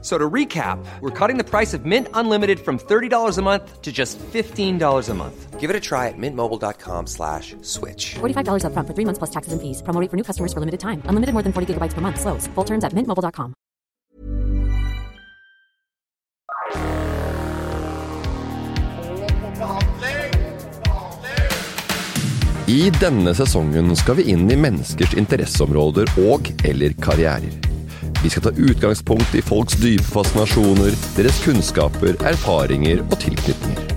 So to recap, we're cutting the price of Mint Unlimited from $30 a month to just $15 a month. Give it a try at mintmobile.com slash switch. $45 upfront for three months plus taxes and fees. Promo rate for new customers for limited time. Unlimited more than 40 gigabytes per month. Slows. Full terms at mintmobile.com. I denne sesongen skal vi inn i menneskers interesseområder og eller karrierer. Vi skal ta utgangspunkt i folks dype fascinasjoner, deres kunnskaper, erfaringer og tilknytninger.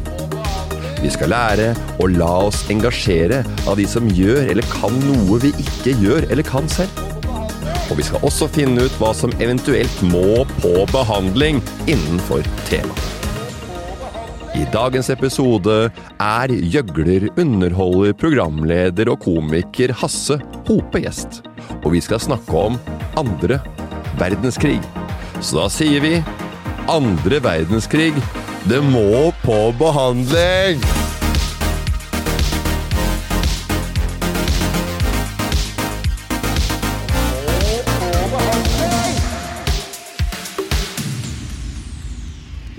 Vi skal lære og la oss engasjere av de som gjør eller kan noe vi ikke gjør eller kan selv. Og vi skal også finne ut hva som eventuelt må på behandling innenfor temaet. I dagens episode er gjøgler, underholder, programleder og komiker Hasse Hope gjest. Og vi skal snakke om andre verdenskrig. Så da sier vi andre verdenskrig, det må på behandling!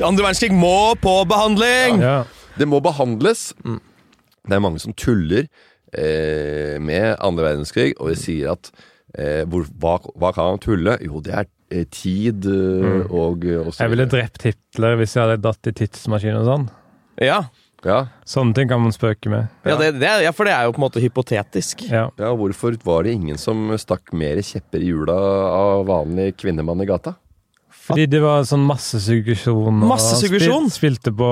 Andre verdenskrig må på behandling! Ja. Det må behandles. Det er mange som tuller eh, med andre verdenskrig, og de sier at eh, hvor, hva, hva kan man tulle? Jo, det er eh, tid eh, og, og så Jeg ville videre. drept Hitler hvis jeg hadde datt i tidsmaskinen og sånn. Ja, ja, Sånne ting kan man spøke med. ja, det, det er, ja, for det er jo på en måte hypotetisk. Ja. ja, hvorfor var det ingen som stakk mer kjepper i hjula av vanlig kvinnemann i gata? Fordi det var sånn massesuggesjon. og Massesuggesjon? Spil, spilte på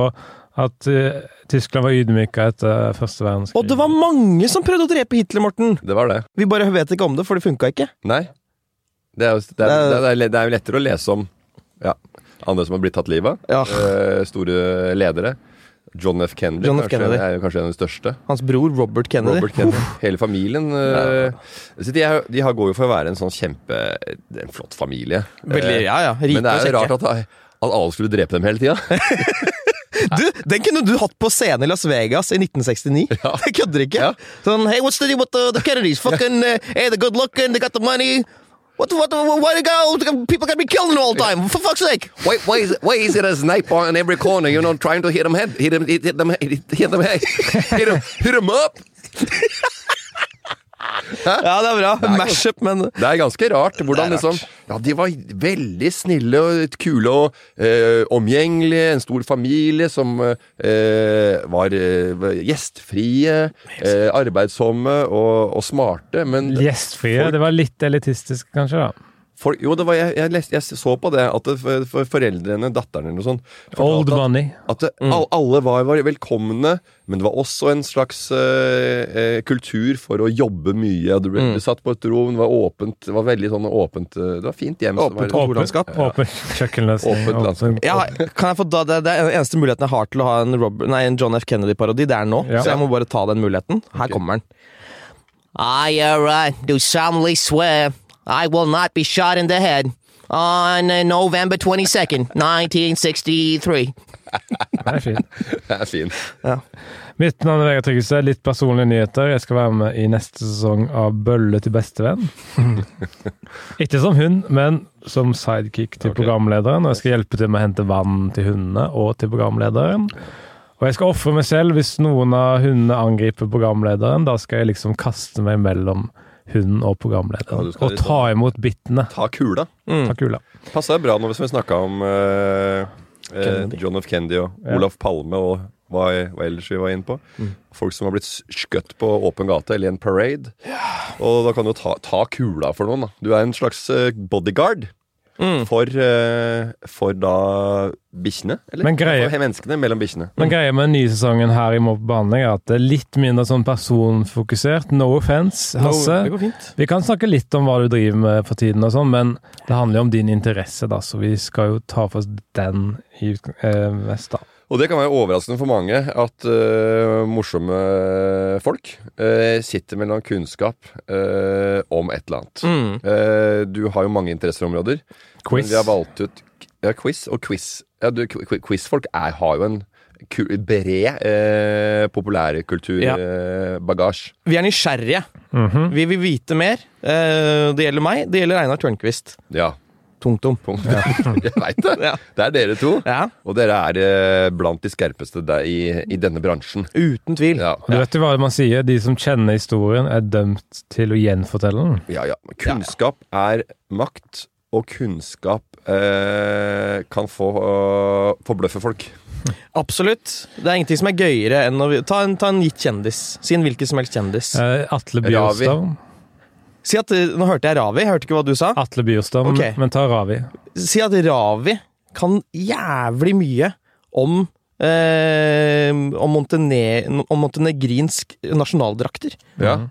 at eh, Tyskland var ydmyka etter første verdenskrig. Og det var mange som prøvde å drepe Hitler, Morten! Det var det. Vi bare vet ikke om det, for det funka ikke. Nei. Det er jo, det er, det er, det er jo lettere å lese om ja, andre som har blitt tatt livet av. Ja, Eh, store ledere. John F. Kennedy, John F. kanskje, Kennedy. er jo kanskje en av de største. Hans bror Robert Kennedy. Robert Kennedy. Hele familien. eh, så de, er, de har, går jo for å være en sånn kjempe det er En flott familie. Veldig, Eh, ja, ja. Rike men det er jo og rart kjekke. at, at alle skulle drepe dem hele tida. Du, den kunne du hatt på scenen i Las Vegas i 1969. Ja. Jeg kødder ikke. Sånn, hey, what's the deal with the, the Kennedys? Fucking, uh, hey, they're good looking, they got the money. What, what, why they go? People can be killed all the time, for fuck's sake! Why, why, is, why is it a sniper on every corner, you know, trying to hit them head? Hit them, hit hit them, hit hit them, head. hit them, hit them up! Ja, det er bra. Mashup, men Det er ganske rart hvordan Det er rart. liksom Ja, de var veldig snille og kule og eh, omgjengelige. En stor familie som eh, var eh, gjestfrie, eh, arbeidsomme og, og smarte. Men Gjestfrie. Folk- Det var litt elitistisk, kanskje. da. folk Jo, det var, jeg, jeg, leste, jeg så på det, at det, for, for foreldrene, datteren eller noe sånt Old fortalte at- money. At det, al- alle var, var velkomne, men det var også en slags eh, eh, kultur for å jobbe mye. Du ble du satt på et rom, det var åpent, det var veldig sånn åpent eh, Det var fint hjem. så Åpent var det- kontor. Åpen, Kontorlandskap. åpen kjøkkenløsning. Åpent landskap. åpen- Jeg har, kan jeg få da, det, det er den eneste muligheten jeg har til å ha en, Rob, nei, en John F. Kennedy-parodi. Det er nå, Ja. så jeg må bare ta den muligheten. Her kommer den. I uh, do solemnly swear I will not be shot in the head on uh, November 22nd, 1963. Det er fint. Det er fint. Mitt navn er Vegard Tryggestad. Litt personlige nyheter. Jeg skal være med i neste sesong av Bølle til bestevenn. Ikke som hund, men som sidekick til programlederen. Og jeg skal hjelpe til med å hente vann til hundene og til programlederen. Og jeg skal ofre meg selv hvis noen av hundene angriper programlederen. Da skal jeg liksom kaste meg mellom hunden Ja, og du programlederen. skal og liksom- ta imot bittene. Ta Mm. kula. Takk, Ula. Passa bra nå hvis vi snakka om eh, eh, Kennedy. John F. Kennedy og Olaf Palme og hva, hva ellers vi var inne på. Mm. Folk som har blitt s- skutt på åpen gate eller i en parade. Og da kan du ta, ta kula for noen. da. Du er en slags eh, bodyguard. Mm. For, eh, for da bikkjene? Eller Men greie- for menneskene mellom bikkjene. Men greia med den nye sesongen her i Mobb behandling er at det er litt mindre sånn personfokusert. No offense, Hasse. Det går fint. Vi kan snakke litt om hva du driver med for tiden, og sånn, men det handler jo om din interesse, da, så vi skal jo ta for oss den i utg- eh, mest. da. Og det kan være overraskende for mange at øh, morsomme folk øh, sitter med en eller annen kunnskap øh, om et eller annet. Mm. Eh, du har jo mange interesseområder. Men Quiz. vi har valgt ut ja, quiz og quiz. Ja, du, qu- qu- quizfolk er, har jo en ku- bred eh, Ja. populærkulturbagasje. Vi er nysgjerrige. Vi vil vite mer. Eh, det gjelder meg, det gjelder Einar Tørnquist. Ja. Punktum. Punkt. Jeg veit det. Ja. Det er dere to. Ja, Og dere er eh, blant de skerpeste der i, i denne bransjen. uten tvil. Ja, Og du vet jo hva man sier, de som kjenner historien, er dømt til å gjenfortelle den. ja, ja. Kunnskap er makt, og kunnskap eh, kan få eh, forbløffe folk. Absolutt. Det er ingenting som er gøyere enn å Ta en, ta en gitt kjendis. Si en hvilken som helst kjendis. Eh, Atle Ravi. Bjørstad. Si at, eh, nå hørte jeg Ravi, jeg hørte ikke hva du sa. Atle Bjørstad, men- Ok. men ta Ravi. Eh. Si at Ravi kan jævlig mye om eh, om, Montene om montenegrinsk nasjonaldrakter. Ja.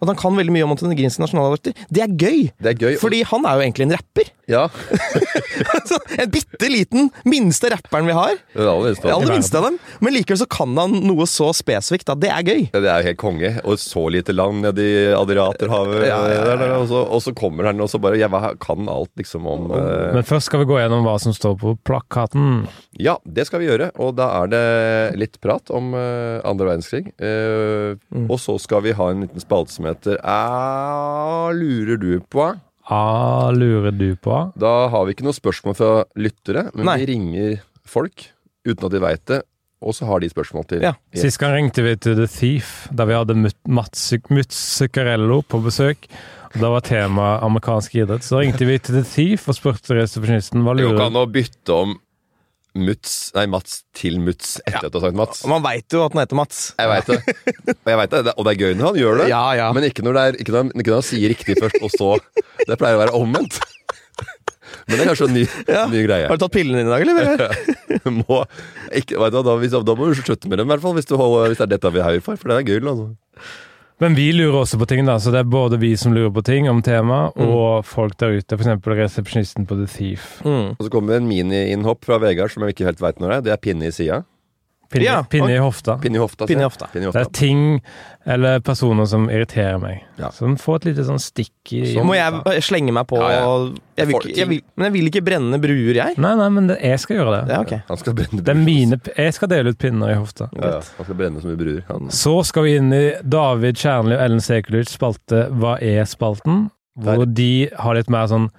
At han kan veldig mye om montenegrinsk nasjonaldrakter. Det er gøy! Det er gøy. og- Fordi han er jo egentlig en rapper. ja. en bitte liten, minste rapperen vi har. Det er det aller beste. Det aller minste av dem. Men likevel så kan han noe så spesifikt at det er gøy. Ja, Det er jo helt konge. Og så lite land nedi Adriaterhavet. der, der, Og, så, og så kommer han, og så bare Jeg hva- kan alt, liksom, om eh, Men først skal vi gå gjennom hva som står på plakaten. Ja, det skal vi gjøre. Og da er det litt prat om eh, andre verdenskrig. Eh, Og så skal vi ha en liten spalte som heter Æ, lurer du på? A lurer du på? Da har vi ikke noe spørsmål fra lyttere, men Nei. vi ringer folk uten at de veit det, og så har de spørsmål til Ja. Ja. Sist gang ringte vi til The Thief, der vi hadde Mut- Mats Mutz Zuccarello på besøk. Og Da var temaet amerikansk idrett. Så ringte vi til The Thief og spurte resepsjonisten hva Det går ikke lurer an å bytte om Mutz, nei, Mats til Mutz etter at du har sagt Mats. Og Man veit jo at han heter Mats. Jeg veit det. Og, jeg vet det. det. og det er gøy når han gjør det, Ja, ja. men ikke når, det er, ikke, når, han- ikke når han sier riktig først, og så Det pleier å være omvendt. Men det er kanskje en ny, ny greie. Har du tatt pillene dine i dag, eller? må, ikke, vet du, hva, da, hvis, da må du slutte med dem, i hvert fall, hvis, du holder, hvis det er dette vi er her for. For det er gull, altså. Men vi lurer også på ting, da. Så det er både vi som lurer på ting om temaet, Mm. og folk der ute. F.eks. resepsjonisten på The Thief. Og så kommer en mini-innhopp fra Vegard som jeg ikke helt veit når det er. Det er pinne i sida. Pinne, Ja, pinne og- i hofta. Pinne i hofta. sier Pinne i jeg. hofta. Pinne i Det hofta. er ting eller personer som irriterer meg. Ja. Som får et lite sånn stikk i Må jeg slenge meg på Ja, ja. og jeg vil, ikke- jeg vil, Men jeg vil ikke brenne bruer, jeg. Nei, nei, men det, jeg skal gjøre det. Ja, ok. Han skal brenne Det er mine p- Jeg skal dele ut pinner i hofta. ja, ja. Han skal brenne så mye bruer. Han. Så skal vi inn i David Kjernli og Ellen Sekulic spalte Hva er-spalten? Hvor de har litt mer sånn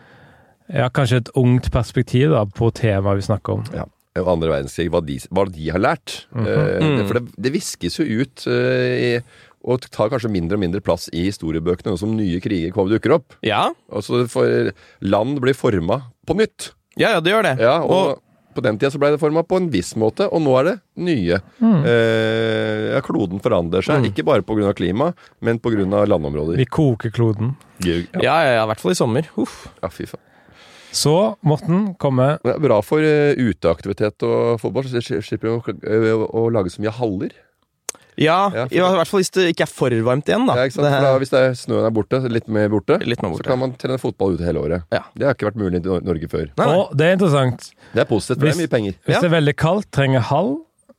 Ja, kanskje et ungt perspektiv da, på temaet vi snakker om. Ja. Og andre verdenskrig, hva de, hva de har lært. Mhm. Eh, det, for det, det viskes jo ut eh, i, og tar kanskje mindre og mindre plass i historiebøkene nå som nye kriger kommer, dukker opp. Ja, Og så får land blir forma på nytt. ja, ja, det gjør det. Ja, og, og, på den tida så ble det forma på en viss måte, og nå er det nye. Mm. Eh, ja, kloden forandrer seg, ikke bare pga. klima, men pga. landområder. Vi koker kloden. Geog- Ja, ja, ja, ja, i hvert fall i sommer. Uff. ja, fy faen. Så, Morten, kommer Men Det er bra for eh, uteaktivitet og fotball, så sli- slipper vi å, eh, å, å lage så mye haller. Ja, Ja, for- i hvert fall hvis det ikke er for varmt igjen, da. Ja, ikke sant? Det- For da, hvis det er, snøen er borte, litt mer borte, Litt mer borte. så kan man trene fotball ute hele året. Ja. Det har ikke vært mulig i Nor- Norge før. Nei, nei. Og det er interessant. Det er positivt, for det er mye penger. Hvis Ja. det er veldig kaldt, trenger halv.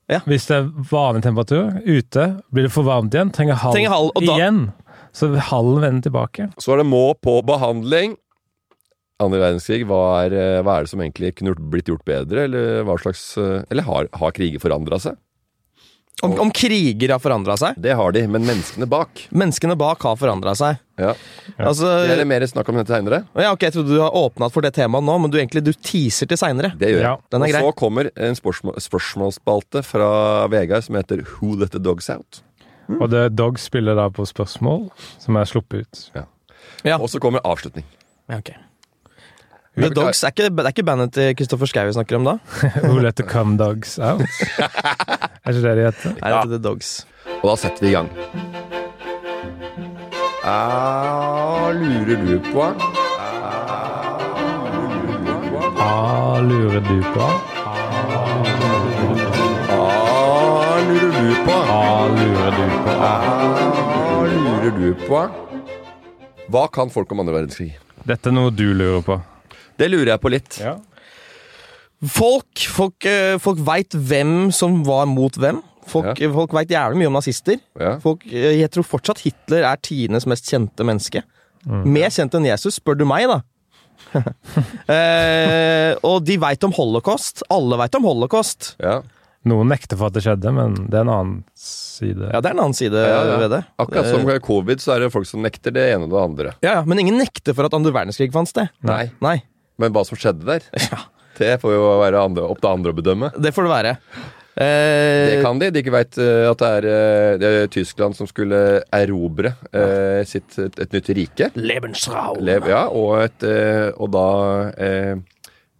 Ja. Hvis det er vanlig temperatur ute, blir det for varmt igjen, trenger halv, Trenger halv, og da- igjen. Så hallen vender tilbake. Så er det må på behandling. Andre verdenskrig, hva er, eh, hva er det som egentlig kunne gjort- blitt gjort bedre? Eller, hva slags, eh, eller har, har kriger forandra seg? om, om kriger har forandra seg? Det har de, men menneskene bak Menneskene bak har forandra seg. ja. Det er Altså, det mer snakk om dette seinere. ja, ok, Jeg trodde du har åpna for det temaet nå, men du egentlig du teaser til seinere. Det gjør jeg. Ja, den er grei. Og så kommer en spørsmål, spørsmålsspalte fra Vegard som heter Who Let The Dogs Out? Mm. Og det Dog spiller da på spørsmål som er sluppet ut. Ja. Og så kommer avslutning. Ja, ok. The Dogs er ikke, det er ikke bandet til Kristoffer Schou vi snakker om da? Who let the cum dogs out? Er ikke det de heter? Nei, det er The Dogs. Og da setter vi i gang. Æ, lurer du på Ah, lurer du på? Æ, lurer du på Ah, lurer du på? Hva lurer du på? Hva kan folk om andre verdenskrig? Dette er noe du lurer på. Det lurer jeg på litt. Ja. Folk, folk, eh, folk veit hvem som var mot hvem. Folk, Ja. folk veit jævlig mye om nazister. Ja. Folk, eh, jeg tror fortsatt Hitler er tidenes mest kjente menneske. Mer kjent enn Jesus, spør du meg, da. eh, og de veit om holocaust. Alle veit om holocaust. Ja. Noen nekter for at det skjedde, men det er en annen side. Ja, det er en annen side Ja, ja. ved det. Eh, Akkurat som covid, så er det folk som nekter det ene og det andre. Ja, ja, Men ingen nekter for at andre verdenskrig fant sted. Nei. Nei. Men hva som skjedde der, det får jo være andre, opp til andre å bedømme. Det får det være. Det Eh, kan de. De ikke veit at det er, eh, det er Tyskland som skulle erobre eh, sitt, et, et nytt rike. Lebensraum. Lev, ja, og, et, eh, og da eh,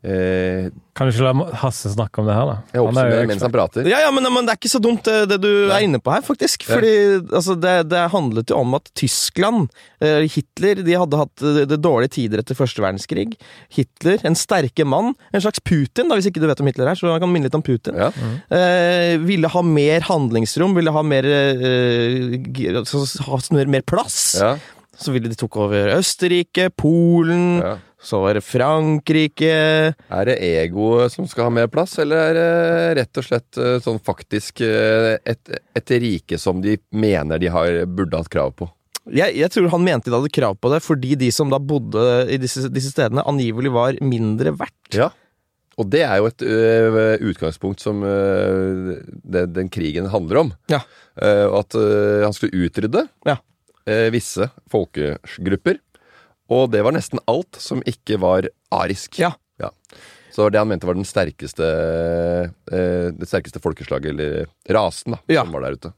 eh, Kan du ikke la Hasse snakke om det her, da? Jeg Han er jo oppsummerer mens ekspert. han prater. Ja, ja, men, men det er ikke så dumt eh, det, det du er inne på her, faktisk. Ja. Fordi altså, det, det handlet jo om at Tyskland, eh, Hitler, de hadde hatt eh, det dårlige tider etter første verdenskrig. Hitler, en sterke mann, en slags Putin, da, hvis ikke du vet om Hitler her, så han kan minne litt om Putin. Ja. Eh, ville ha mer handlingsrom, ville ha mer, eh, g- altså, ha mer, mer plass. Ja. Så ville de tok over Østerrike, Polen, Ja. så var det Frankrike. Er det egoet som skal ha mer plass, eller er det rett og slett eh, sånn faktisk eh, et, et rike som de mener de har, burde hatt krav på? Jeg, jeg tror han mente de hadde krav på det fordi de som da bodde i disse, disse stedene, angivelig var mindre verdt. Ja. Og det er jo et ø, utgangspunkt som ø, det, den krigen handler om. Ja. Eh, og at ø, han skulle utrydde Ja. eh, visse folkegrupper. Og det var nesten alt som ikke var arisk. Ja. Så det han mente var den sterkeste, eh, det sterkeste folkeslaget, eller rasen, da, Ja. som var der ute.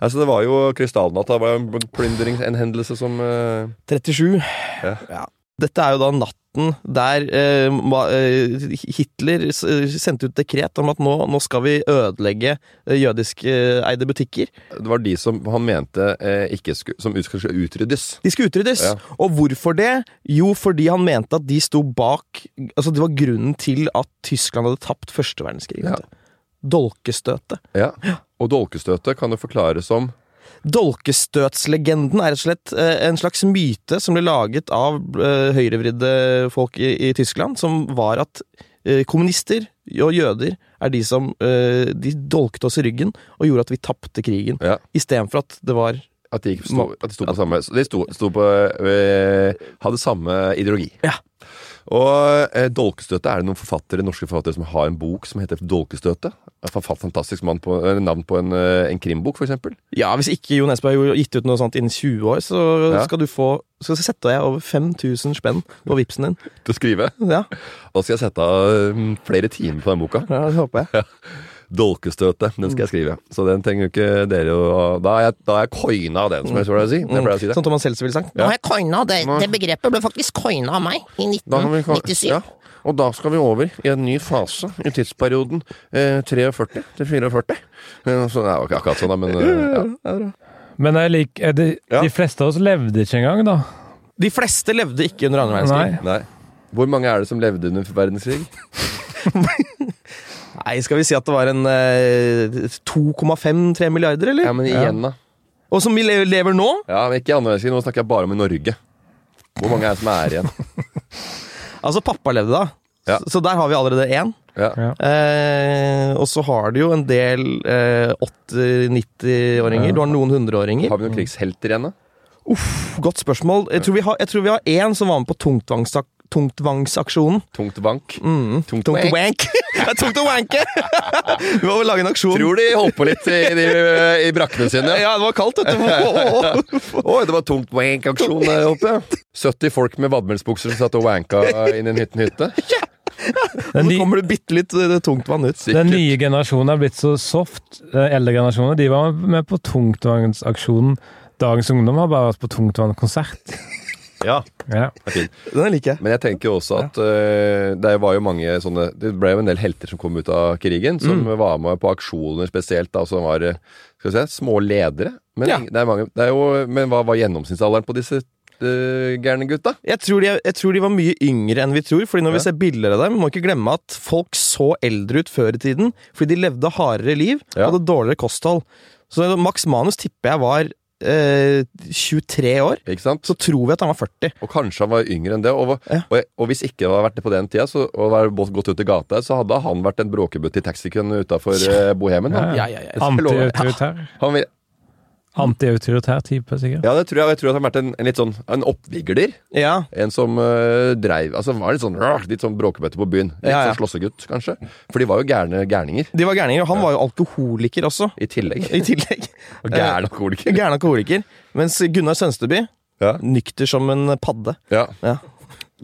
Ja, så det var jo krystallnatta. Det var jo en plyndring, en hendelse som eh, 37. Ja. Dette er jo da natten der eh, ma- eh, Hitler s- eh, sendte ut dekret om at nå, nå skal vi ødelegge eh, jødiskeide butikker. Det var de som han mente eh, ikke skulle, som ut- skulle utryddes. De skal utryddes. Ja. Og hvorfor det? Jo, fordi han mente at de sto bak Altså, det var grunnen til at Tyskland hadde tapt første verdenskrig. Ja. vet du. Dolkestøtet. Ja. Og dolkestøtet kan jo forklares som Dolkestøtslegenden er rett og slett eh, en slags myte som ble laget av eh, høyrevridde folk i, i Tyskland, som var at eh, kommunister og jøder er de som eh, de dolket oss i ryggen og gjorde at vi tapte krigen. ja, Istedenfor at det var at de, ikke sto, at de sto på samme så De sto, sto på øh, hadde samme ideologi. Ja. Og eh, Dolkestøtet er det noen forfattere, norske forfattere som har en bok som heter Dolkestøtet. En forfatt- Fantastisk mann på, eller navn på en, eh, en krimbok, f.eks. Ja, hvis ikke Jo Nesbø har jo gitt ut noe sånt innen 20 år, så Ja. skal du få Så setter jeg over 5000 spenn på vipsen din. Til å skrive. Ja, Da skal jeg sette av eh, flere timer på den boka. ja det håper jeg. Dolkestøtet, den skal jeg skrive. Så den trenger jo ikke dere å Da er jeg, da er jeg coina av den, som jeg pleier å si. Det pleier jeg å si det. Sånn Thomas Seltzer ville sagt. Nå har jeg coina det. Det begrepet ble faktisk coina av meg i Da kan vi ka- 1997. ja. Og da skal vi over i en ny fase i tidsperioden eh, 43 til 44. Eh, Så det er jo ikke akkurat sånn, da, men eh, ja. Men jeg lik, er det, Ja. de fleste av oss levde ikke engang, da. De fleste levde ikke under andre verdenskrig. Nei. Nei. Hvor mange er det som levde under verdenskrig? Nei, skal vi si at det var en eh, 2,5-3 milliarder, eller? Ja, men igjen, da. Og som vi le- lever nå? Ja, men Ikke i andre verdenskrig, nå snakker jeg bare om i Norge. Hvor mange er det som er igjen? Altså, pappa levde da. Ja. Så, så der har vi allerede én. Ja. Ja. Eh, og så har du jo en del eh, 80-90-åringer. Du har noen hundreåringer. Har vi noen krigshelter igjen, da? Uff, Godt spørsmål. Jeg tror vi har- jeg tror vi har én som var med på tungtvangsak- tungtvangsaksjonen. Tungt vank? Mm. Tungt Tungt wank. å wank! Det er tungt å wanke! vi må vel lage en aksjon. Tror de holdt på litt i, de, eh, i brakkene sine. Ja, det var kaldt, vet du. Oi, det var tungt wank-aksjon der oppe. 70 folk med vadmelsbukser som satt og wanka inn i en hytten hytte. Den, Nå ny- kommer det bitte litt eh, tungtvann ut. den nye generasjonen er blitt så soft. Den eldre generasjonen de var med på tungtvannsaksjonen. Dagens ungdom har bare vært på tungtvannkonsert. Ja. Ja. Den liker jeg. Men jeg tenker jo også at øh, det var jo mange sånne Det ble jo en del helter som kom ut av krigen, som Mm. var med på aksjoner spesielt, da, som var øh, skal vi si, små ledere. Men, Ja. det er mange, det er jo, men hva var gjennomsnittsalderen på disse øh, gærne gutta? Jeg tror, de, jeg tror de var mye yngre enn vi tror, fordi når vi ser bilder av dem, må vi ikke glemme at folk så eldre ut før i tiden, fordi de levde hardere liv, Ja. hadde dårligere kosthold. Så Max Manus tipper jeg var eh, 23 år, Ikke sant? så tror vi at han var 40. Og kanskje han var yngre enn det. Og, Ja. og, og hvis ikke det hadde vært det på den tida, så, og var gått gått ut i gata, så hadde han vært en bråkebutt i taxikøen utafor eh, Bohemen. han. Ja, ja, ja. Antiautoritær. Han vil, Antiautoritær type, sikkert. ja, det tror jeg. Jeg tror at han har vært en, en litt sånn en oppvigler. Ja, En som eh, dreiv Altså var litt sånn rrr, litt sånn bråkebøtte på byen. Litt Ja, ja. sånn slåssegutt, kanskje. For de var jo gærne gærninger De var gærninger, og han var jo alkoholiker også, i tillegg. i tillegg. Eh, Og Gærne alkoholiker. Gæren alkoholiker. Mens Gunnar Sønsteby, Ja. nykter som en padde. Ja. Ja.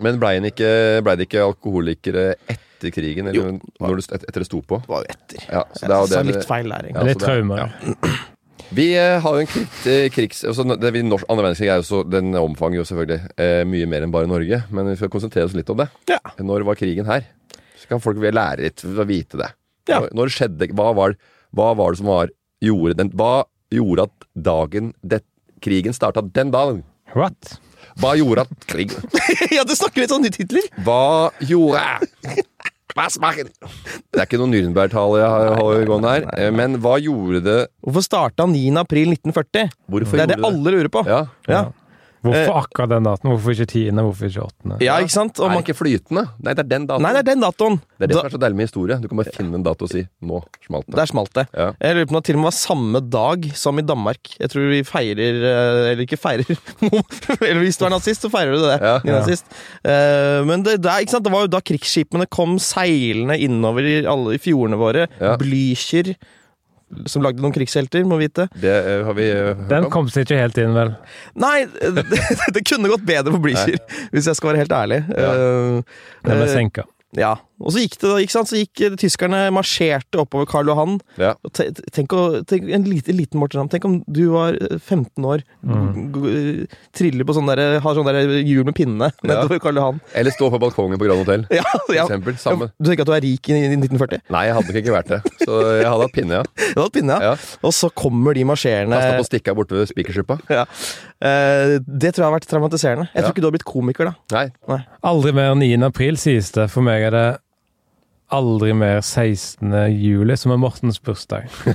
Men blei han ikke, ble de ikke alkoholikere etter krigen? Eller når det, et- etter det sto på? Var jo etter. Ja, så Jeg det er jo sa det- litt feil der, egentlig. Ja, så Litt det er- traumer. Vi eh, har jo en krig, eh, krigs... Altså, det, vi, norsk, andre verdenskrig er jo så, den omfanger jo selvfølgelig eh, mye mer enn bare Norge, men vi skal konsentrere oss litt om det. Ja. Når var krigen her? Så kan folk vel lære litt ved å vite det. Ja. Når, når skjedde hva var, hva var det som var gjorde den, Hva gjorde at dagen det, krigen starta den dagen? What? Hva gjorde at krigen ja, du snakker litt sånn nytt Hitler! Hva gjorde Hva smaken? Det er ikke noe Nürnberg-tale jeg har- har gående her, eh, men hva gjorde det Hvorfor starta 9. april 1940? Hvorfor Det er gjorde det alle lurer på. Ja. Ja. Hvorfor akkurat den daten? Hvorfor ikke tiende? Hvorfor ikke åttende? Ja, ikke sant? Og Er man, det ikke flytende? Nei, det er den datoen. nei, det er den datoen! Det er det Da- som er så deilig med historie. Du kan bare finne en dato og si 'nå smalt det'. Der smalt det. Ja. Jeg lurer på om det til og med var samme dag som i Danmark. Jeg tror vi feirer eh, Eller ikke feirer Eller Hvis du er nazist, så feirer du det. Ja. din nazist. Eh, men det, det, er, ikke sant? det var jo da krigsskipene kom seilende innover i, alle, i fjordene våre. Ja. Blücher, som lagde noen krigshelter, må vite. Det eh, har vi eh, hørt Den om. kom seg ikke helt inn, vel? Nei, det, det kunne gått bedre for Blücher, hvis jeg skal være helt ærlig. Eh, Den ble eh, senka. ja. Og så gikk det da, ikke sant? Så gikk eh, tyskerne marsjerte oppover Karl Johan. Ja. Og te- Tenk, å, tenk, en lite, liten Morten Ramm. Tenk om du var eh, 15 år, g- g- triller på sånn der, har sånn der hjul med pinne nedover Karl Johan. Eller stå på balkongen på Grand Hotell. Ja, ja. eksempel, samme. Du tenker at du er rik i, i 1940? Nei, jeg hadde nok ikke vært det. Så jeg hadde hatt pinne, ja. Du hadde hatt pinne, ja. ja. Og så kommer de marsjerende Kasta på stikka borte ved Spikersuppa. ja. Eh, Det tror jeg har vært traumatiserende. Jeg tror Ja. ikke du har blitt komiker, da. Nei. Aldri mer 9. april, sies det. For meg er det aldri mer 16. juli, som er Mortens bursdag. Hva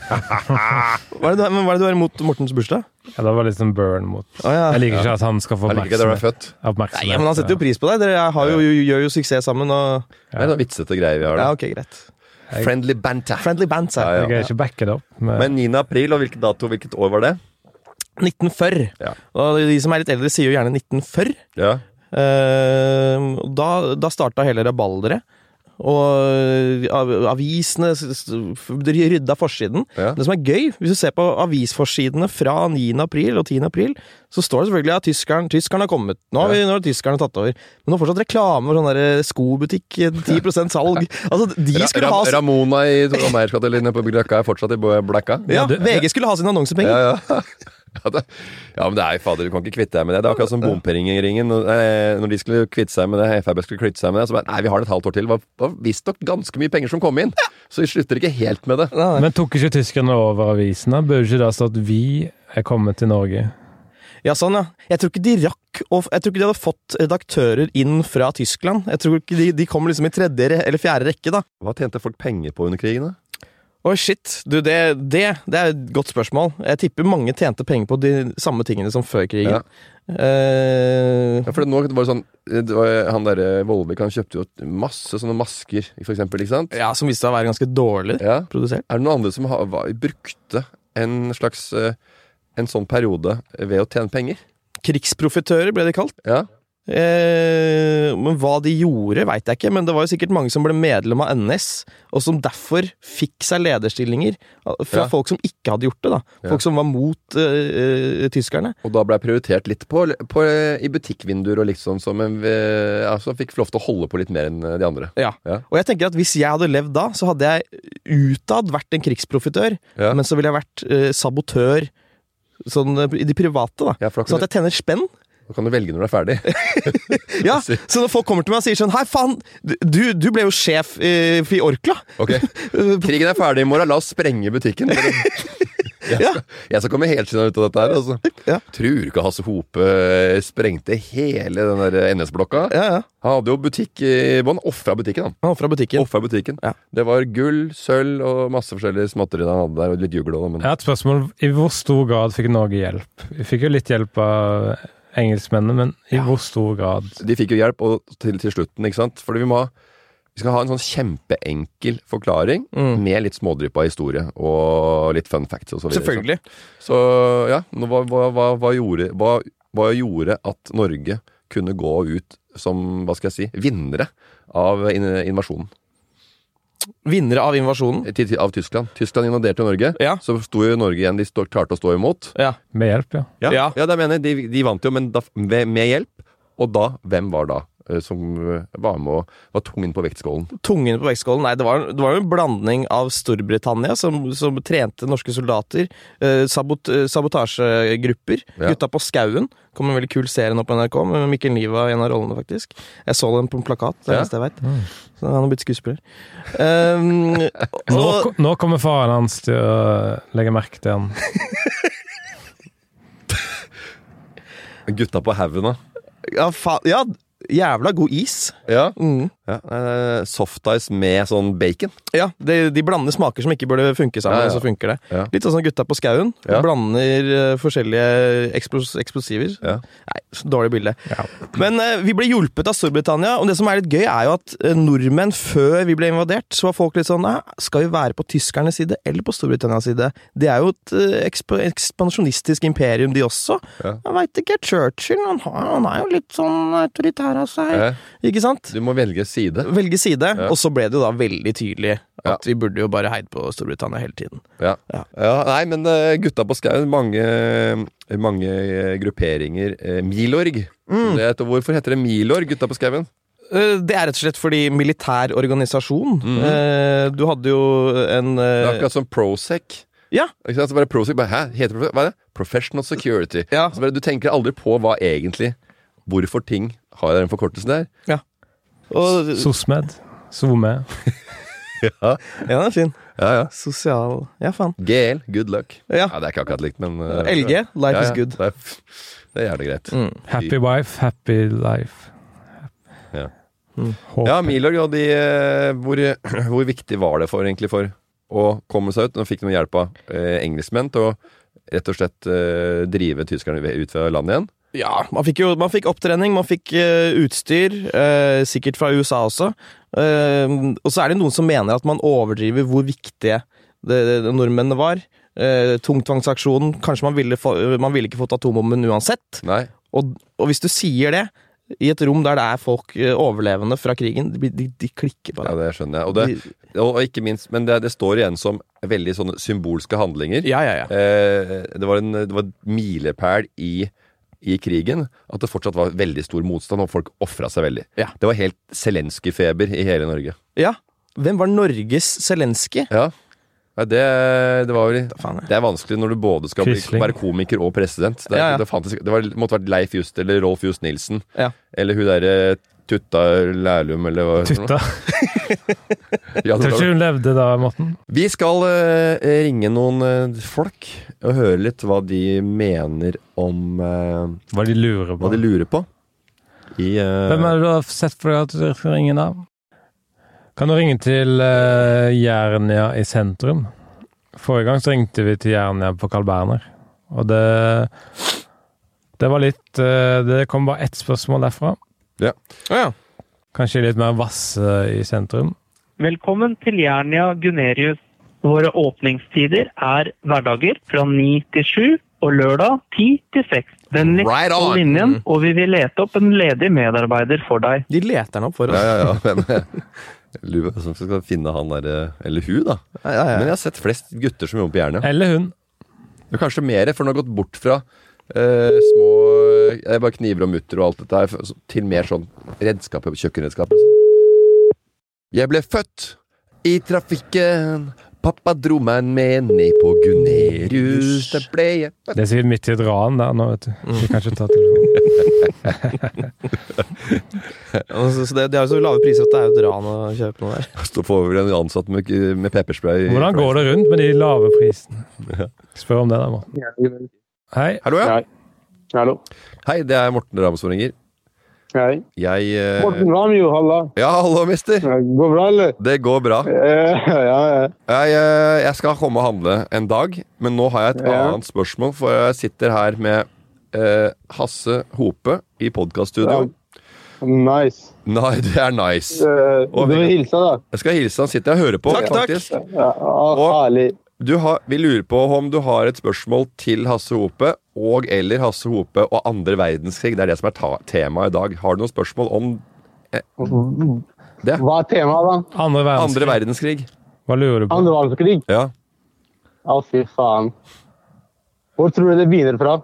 er det, du- men hva er det du har imot Mortens bursdag? Ja, det var liksom burn mot Å, Ah, ja. Jeg liker ikke at han skal få Jeg liker ikke der du er oppmerksomhet. født. oppmerksomhet. Nei, men han setter jo pris på deg. Dere har jo, gjør jo suksess sammen. Og... Det er noen vitsete greier vi har Ja, der. ok, greit. Friendly banter. Friendly bands her. Ja, Jeg greier ikke å backe det opp. Med, Men 9. april, og hvilken dato, hvilket år var det? 1940. Ja. Og de som er litt eldre, sier jo gjerne 1940. Ja. Eh, og da da starta hele rabalderet. Og eh, av- avisene s- s- de rydda forsiden. Ja. Det som er gøy, hvis du ser på avisforsidene fra 9. april og 10. april, så står det selvfølgelig at tyskeren, tyskeren har kommet. Nå har, vi, nå har tyskerne tatt over. Men nå er det fortsatt reklame for sånn der skobutikk, 10 salg. Altså, de skulle Ra- ha Ra- Ramona i Ameiersgata eller inne på Blekka er fortsatt i Bo- Blekka. Ja, VG skulle ha sine annonsepenger. Ja, ja. Ja, det, ja, men det er jo fader, du kan ikke kvitte deg med det. Det er akkurat som bompengeringen. Når, eh, når de skulle kvitte seg med det, FrB skulle kvitte seg med det, så bare Nei, vi har det et halvt år til. Det var- var visstnok ganske mye penger som kom inn. Så vi slutter ikke helt med det. men tok ikke tyskerne over avisene? Burde ikke det stått 'Vi er kommet til Norge'? Ja, sånn, ja. Jeg tror ikke de rakk å Jeg tror ikke de hadde fått redaktører inn fra Tyskland. Jeg tror ikke de, de kom liksom i tredje re- eller fjerde rekke, da. Hva tjente folk penger på under krigen, da? Oi, shit. Du, det, det, det er et godt spørsmål. Jeg tipper mange tjente penger på de samme tingene som før krigen. Eh, Ja, for det, nå var det sånn det var, Han derre Vollvik, han kjøpte jo masse sånne masker, for eksempel, ikke sant? ja, som viste seg å være ganske dårlig Ja. produsert. Er det noen andre som har, var, brukte en slags eh, en sånn periode ved å tjene penger? Krigsprofitører ble de kalt. Ja. Eh, men hva de gjorde, veit jeg ikke, men det var jo sikkert mange som ble medlem av NS, og som derfor fikk seg lederstillinger eh, fra Ja. folk som ikke hadde gjort det. da Folk som var mot eh, eh, tyskerne. Og da ble jeg prioritert litt på, på, i butikkvinduer og liksom som en eh, altså, Fikk lov til å holde på litt mer enn de andre. Ja. Ja. Og jeg tenker at hvis jeg hadde levd da, så hadde jeg utad vært en krigsprofitør, Ja. men så ville jeg vært eh, sabotør sånn eh, i det private, da. Ja, for da kan Sånn at jeg tjener spenn. Da kan du velge når du er ferdig. Ja, Så når folk kommer til meg og sier sånn Hei, faen, du, du ble jo sjef eh, i Orkla. Ok, Krigen er ferdig i morgen, la oss sprenge butikken. Dere- Jeg skal, jeg skal komme helskinna ut av dette her, altså. Ja. Tror ikke Hasse Hope eh, sprengte hele den der NS-blokka. Ja, ja. Han hadde jo butikk i bånn. Ofra butikken, han. Han ofra butikken. Ofra butikken. Ja. Det var gull, sølv og masse forskjellige småtterier han hadde der, og litt juggel òg, men Jeg har et spørsmål. I hvor stor grad fikk Norge hjelp? Vi fikk jo litt hjelp av engelskmennene, men i hvor stor grad? De fikk jo hjelp og til, til slutten, ikke sant? Fordi vi må ha vi skal ha en sånn kjempeenkel forklaring Mm. med litt smådrypp av historie og litt fun facts og så videre. Selvfølgelig. Så ja, nå, hva, hva, hva, hva, gjorde, hva, hva gjorde at Norge kunne gå ut som, hva skal jeg si, vinnere av in invasjonen Vinnere av invasjonen. til- til- av Tyskland? Tyskland invaderte Norge, Ja. så sto jo Norge igjen, de stå, klarte å stå imot. Ja. Med hjelp, ja. Ja, Ja. det mener jeg, de, de vant jo, men da, med, med hjelp. Og da, hvem var da eh, som eh, var med og var tungen på vektskålen? Tungen på vektskålen. Nei, det var, det var jo en blanding av Storbritannia, som, som trente norske soldater, eh, sabot, eh, sabotasjegrupper, Ja. Gutta på skauen. Kom en veldig kul serie nå på NRK med Mikkel Niva i en av rollene, faktisk. Jeg så den på en plakat, Ja. Mm. det er det eneste jeg vet. Så han har blitt skuespiller. Ehm, Nå, og, nå kommer faren hans til å legge merke til han. Gutta på haugen, da. ja, fa ja, jævla god is. Ja. Mm. ja. eh, Softice med sånn bacon. Ja, de, de blander smaker som ikke burde funke sammen, Ja, ja. og så funker det. Ja. Litt sånn som gutta på skauen. Ja. Blander eh, forskjellige eksplos eksplosiver. Ja. Nei, så dårlig bilde. Men eh, vi ble hjulpet av Storbritannia, og det som er litt gøy, er jo at eh, nordmenn før vi ble invadert, så var folk litt sånn "Nei, Skal vi være på tyskernes side eller på Storbritannias side? Det er jo et eh, eksp ekspansjonistisk imperium, de også. Ja. Jeg veit ikke. Churchill han, har, han er jo litt sånn autoritær av seg. Ja. Ikke sant? Du må velge side. velge side. Ja. Og så ble det jo da veldig tydelig at Ja. vi burde jo bare heid på Storbritannia hele tiden. Ja. Ja. nei, men eh, Gutta på skauen, mange, mange eh, grupperinger. Eh, Milorg. Det heter, hvorfor heter det Milorg, Gutta på skauen? Eh, Det er rett og slett fordi militær organisasjon eh, Du hadde jo en Det er eh, akkurat som Prosec. Ja, Ikke sant? Så bare Prosec, bare, Hæ? Heter det, Prosec? hva er det? Professional Security. Ja. Så bare, du tenker aldri på hva egentlig Hvorfor ting har den forkortelsen der. og, SOSMED. SOME. ja, den er fin. Ja, ja. Sosial Ja, faen. GL, good luck. Ja. det er ikke akkurat likt, men eh, LG, life ja, is ja. good. Mm. Det er, det er jævlig greit. Happy wife, happy life. Ja. Håp. Ja, Milorg, og de, eh, hvor, hvor viktig var det for, egentlig for å komme seg ut? Nå fikk de hjelp av eh, engelskmenn til å rett og slett eh, drive tyskerne ve- ut fra landet igjen. Ja, man fikk jo man fikk opptrening, man fikk eh, utstyr, eh, sikkert fra USA også. Eh, og så er det noen som mener at man overdriver hvor viktige det, det, det nordmennene var. Eh, tungtvangsaksjonen Kanskje man ville, få, man ville ikke fått atombomben uansett. Nei. Og, og hvis du sier det i et rom der det er folk eh, overlevende fra krigen, de, blir- de, de klikker på Ja, det. det skjønner jeg. Og, det, og, og ikke minst, men det, det står igjen som veldig sånne symbolske handlinger. Ja, ja, ja. Eh, det var en det var en milepæl i, i krigen at det fortsatt var veldig stor motstand, og folk ofra seg veldig. Ja. Det var helt Zelenskyj-feber i hele Norge. ja. Hvem var Norges Zelenskyj? Ja. Nei, det, det var vel faen, ja. Det er vanskelig når du både skal bli, Quisling. være komiker og president. Det, er- Ja, ja. det, fantes ikke- det var, måtte vært Leif Just eller Rolf Just Nilsen. Ja. Eller hun derre Tutta Lærlum, eller hva heter hun? Tutta. Ja, det Tror var- ikke hun levde da, Morten? Vi skal eh, ringe noen eh, folk og høre litt hva de mener om eh, Hva de lurer Hva de lurer på. I, eh, Hvem er det du har sett for deg at du skal ringe da? Kan du ringe til eh, Jernia i sentrum? Forrige gang så ringte vi til Jernia på Carl Berner, og det Det var litt eh, Det kom bare ett spørsmål derfra. Ja. Kanskje litt mer Vasse i sentrum. Velkommen til Jernia Gunerius. Våre åpningstider er hverdager fra 9 til 7 og lørdag 10 til 6. Vennligst Right on. hold linjen, og vi vil lete opp en ledig medarbeider for deg. De leter den opp for Ja, oss. ja, ja. Men, lurer på hvem som skal finne han derre Eller hun, da. Ja, ja, Men ja. jeg har sett flest gutter som jobber på Jernia. Eller hun. Det er Kanskje mer, for den har gått bort fra eh, små eh, bare kniver og mutter og alt dette her, f- til mer sånn redskap, liksom. kjøkkenredskap. og sånn. Jeg ble født i trafikken Pappa dro meg med ned på Gunerius. Det ble jeg. Det er sikkert midt i et ran der nå, vet du. Mm. Vi kan ikke ta telefonen. Altså, så det, de har jo så lave priser at det er jo et ran å kjøpe noe der. Så får vi vel en ansatt med, med pepperspray. i- Hvordan går det rundt med de lave prisene? Spør om det, da, Morten. Hei. Hallo, ja. Hei. Hallo. Hei, det er Morten Ramsvold ringer. Hei. Jeg eh, Morten Ramjo, halla. Ja, hallo, mister. Går bra, eller? Det går bra. Eh, Ja, ja. Jeg, eh, jeg skal komme og handle en dag, men nå har jeg et Ja. annet spørsmål. For jeg sitter her med eh, Hasse Hope i ja. podkaststudio. Nice. Nei, det er nice. Eh, Og Du vi- vil hilse, da? Jeg skal hilse. Han sitter og hører på. Takk, takk. faktisk. Ja, ah, Og- herlig. Du har, vi lurer på om du har et spørsmål til Hasse Hope og eller Hasse Hope og andre verdenskrig. Det er det som er ta temaet i dag. Har du noen spørsmål om Hva er temaet, da? Andre andre verdenskrig. verdenskrig? Hva lurer du på? Andre verdenskrig? Ja. Å, fy faen. Hvor tror du det begynner fra?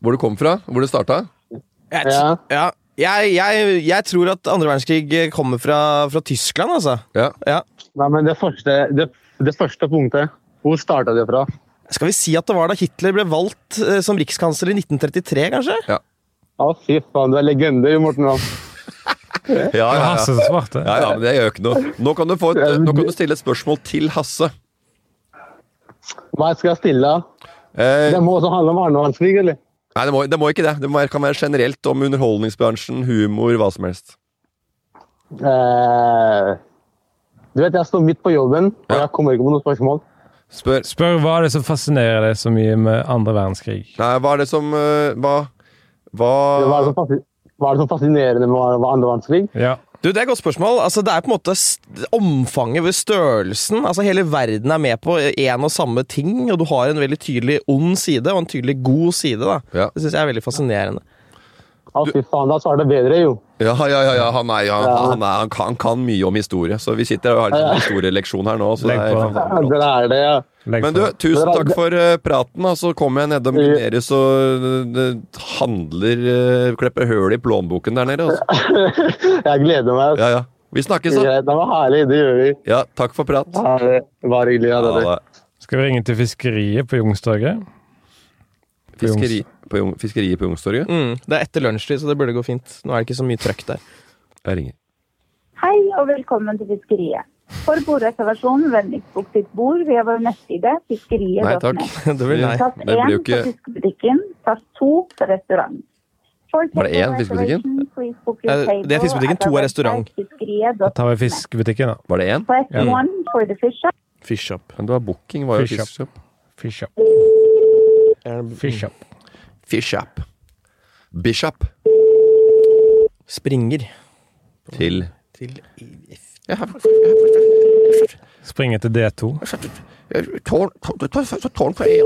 Hvor du kom fra? Hvor det starta? Jeg, Ja. ja. jeg, jeg, jeg tror at andre verdenskrig eh, kommer fra, fra Tyskland, altså. Ja. Ja. Nei, men det første, det, det første punktet. Hvor starta det fra? Skal vi si at det var da Hitler ble valgt eh, som rikskansler i 1933, kanskje? Å, fy faen, du er legende, jo, Morten. Ramm. Ja, ja, Det var ja. Hasse som svarte. ja, ja men det gjør ikke noe. Nå kan, du få et, nå kan du stille et spørsmål til Hasse. Hva skal jeg stille? da? Eh, Det må også handle om andre verdenskrig, eller? nei, det må, det må ikke det. Det må være, kan være generelt om underholdningsbransjen, humor, hva som helst. Eh, du vet, jeg står midt på jobben, og Ja. jeg kommer ikke på noen spørsmål. Spør Spør hva er det som fascinerer deg så mye med andre verdenskrig? Nei, hva er det som eh, Hva Hva er det Hva som, fasi- hva er det som fascinerende med hva- hva andre verdenskrig? Ja. Du, Det er et godt spørsmål. Altså, det er på en måte s- omfanget ved størrelsen. Altså, Hele verden er med på én og samme ting, og du har en veldig tydelig ond side og en tydelig god side. da. Ja. Det syns jeg er veldig fascinerende. Å, fy faen, da svarer det bedre, jo. Ja, ja, ja, ja, han, er, han, han, er, han, kan, han kan mye om historie, så vi sitter og har en sånn historieleksjon her nå. Så det Legg er, på. Ja, Det er det, ja. Legg Men på. du, tusen takk for eh, praten. Og så kommer jeg nedom Gunerius og eh, handler eh, Klepper høl i plånboken der nede. Altså. Jeg gleder meg. altså. Ja, ja. Vi snakkes, da. Greit, Det var herlig, det gjør vi. Ja, takk for prat. Ha det. Bare hyggelig. Ha det. Ha det. Skal vi ringe til fiskeriet på Youngstorget? Fiskeri, på, Jung- fiskeriet på Youngstorget? Mm, det er etter lunsjtid, så det burde gå fint. Nå er det ikke så mye trøkk der. Jeg ringer. Hei og velkommen til Fiskeriet. For bordreservasjon, vennligst bok ditt bord via vår nettside Nei takk. fiskeriet.net. Det blir nei. Tast Det blir jo 1 ikke for fiskebutikken, tast 2 for restaurant. For Var det én takeaway fiskebutikken? reservation, please book your Eh, det er table fiskebutikken, at to er our restaurant. website fiskeriet.net. Tar vi fiskebutikken, da? Var det én? Press 1 for the fish shop. Fish up. Men det var booking. Var jo Fish up. fish up. Fish up. Er det- Fish up. Fish up. Bishop. Springer. Til Til ja, Springe til D2. tårn, tårn på én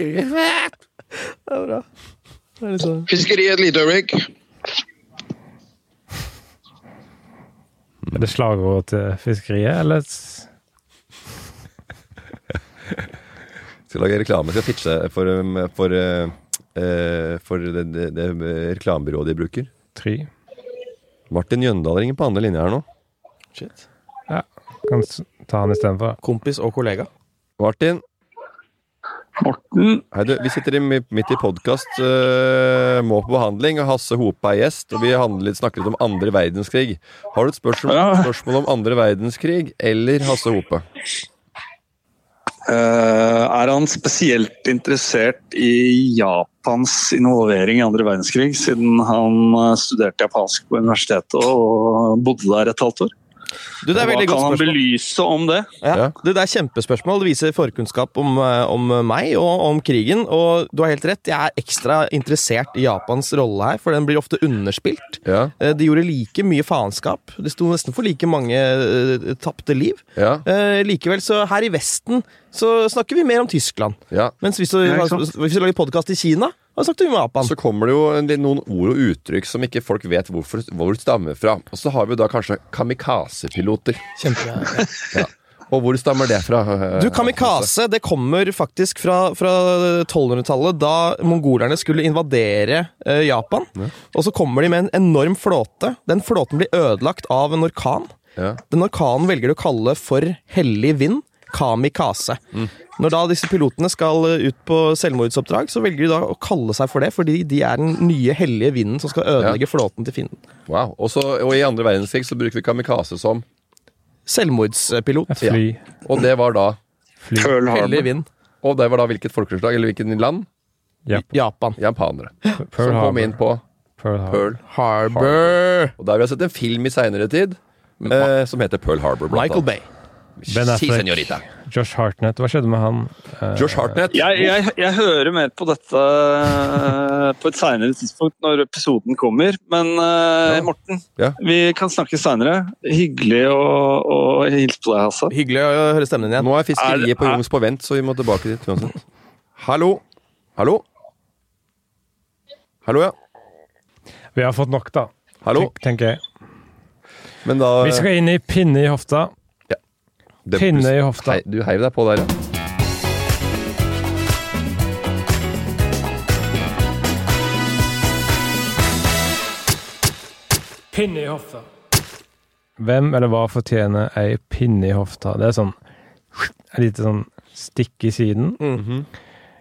Det er bra. Det er litt sånn- Fiskeriet et lite øyeblikk. Er det slagordet til fiskeriet, eller s- Skal lage reklame. Skal pitche for, um, for, uh, eh, for det, det, det reklamebyrået de bruker. try? Martin Jøndal ringer på andre linja her nå. Shit. Ja. Kan s- ta han istedenfor. Kompis og kollega. Martin, Morten. hei du, vi sitter i, mi- midt i podkast, må på behandling, og Hasse Hope er gjest, og vi handler litt, snakker litt om andre verdenskrig. Har du et spørsmål, Ja. spørsmål om andre verdenskrig eller Hasse Hope? Eh, er han spesielt interessert i Japans involvering i andre verdenskrig, siden han eh, studerte japansk på universitetet og bodde der et halvt år? Du, det er Hva veldig kan godt han spørsmål. belyse om det? Ja. Ja. Du, det er kjempespørsmål. Det viser forkunnskap om, eh, om meg og om krigen. Og du har helt rett, jeg er ekstra interessert i Japans rolle her, for den blir ofte underspilt. Ja, Eh, De gjorde like mye faenskap. Det sto nesten for like mange eh, tapte liv. ja, Eh, likevel, så her i Vesten så snakker vi mer om Tyskland. ja. Mens hvis du, hvis du lager podkast i Kina, da snakker vi om Japan. Så kommer det jo en del- noen ord og uttrykk som ikke folk vet hvorfor, hvor det stammer fra. Og så har vi da kanskje kamikazepiloter. Kjempe. Og hvor stammer det fra? Du, kamikaze det kommer faktisk fra, fra 1200-tallet, da mongolerne skulle invadere eh, Japan. Og så kommer de med en enorm flåte. Den flåten blir ødelagt av en orkan. Ja. Denne orkanen velger de å kalle for hellig vind, kamikaze. Når da disse pilotene skal eh, ut på selvmordsoppdrag, så velger de da å kalle seg for det, fordi de er den nye hellige vinden som skal ødelegge flåten til fienden. Wow. Og, så, og i andre verdenskrig så bruker vi kamikaze som Selvmordspilot. Et fly. Og det var da Pearl Hellig Harbor. vind. Og det var da hvilket folkeslag, eller hvilket land? Japan. Japanere. som Pearl kom Harbor. inn på Pearl Harbor. Pearl Harbor. Og der har vi sett en film i seinere tid eh, som heter Pearl Harbor. blant Michael annet. Bay. Ben Si, Affleck. senorita. Josh Hartnett. Hva skjedde med han? Eh, Josh Hartnett. Jeg, jeg, jeg hører mer på dette eh, på et seinere tidspunkt når episoden kommer. Men eh, Ja. Morten, Ja. vi kan snakke seinere. Hyggelig å, å hilse på deg, Hasse. Hyggelig å høre stemmen din igjen. Nå er fiskeriet på Er- er- Jungs på vent, så vi må tilbake dit uansett. Hallo? Hallo? Hallo, ja. Vi har fått nok, da. Hallo? Tenk, tenker jeg. Men da Vi skal inn i pinne i hofta. Det- pinne i hofta. Hei, du heiv deg på der, ja. Pinne i hofta. Hvem eller hva fortjener ei pinne i hofta? Det er sånn Et lite sånn stikk i siden.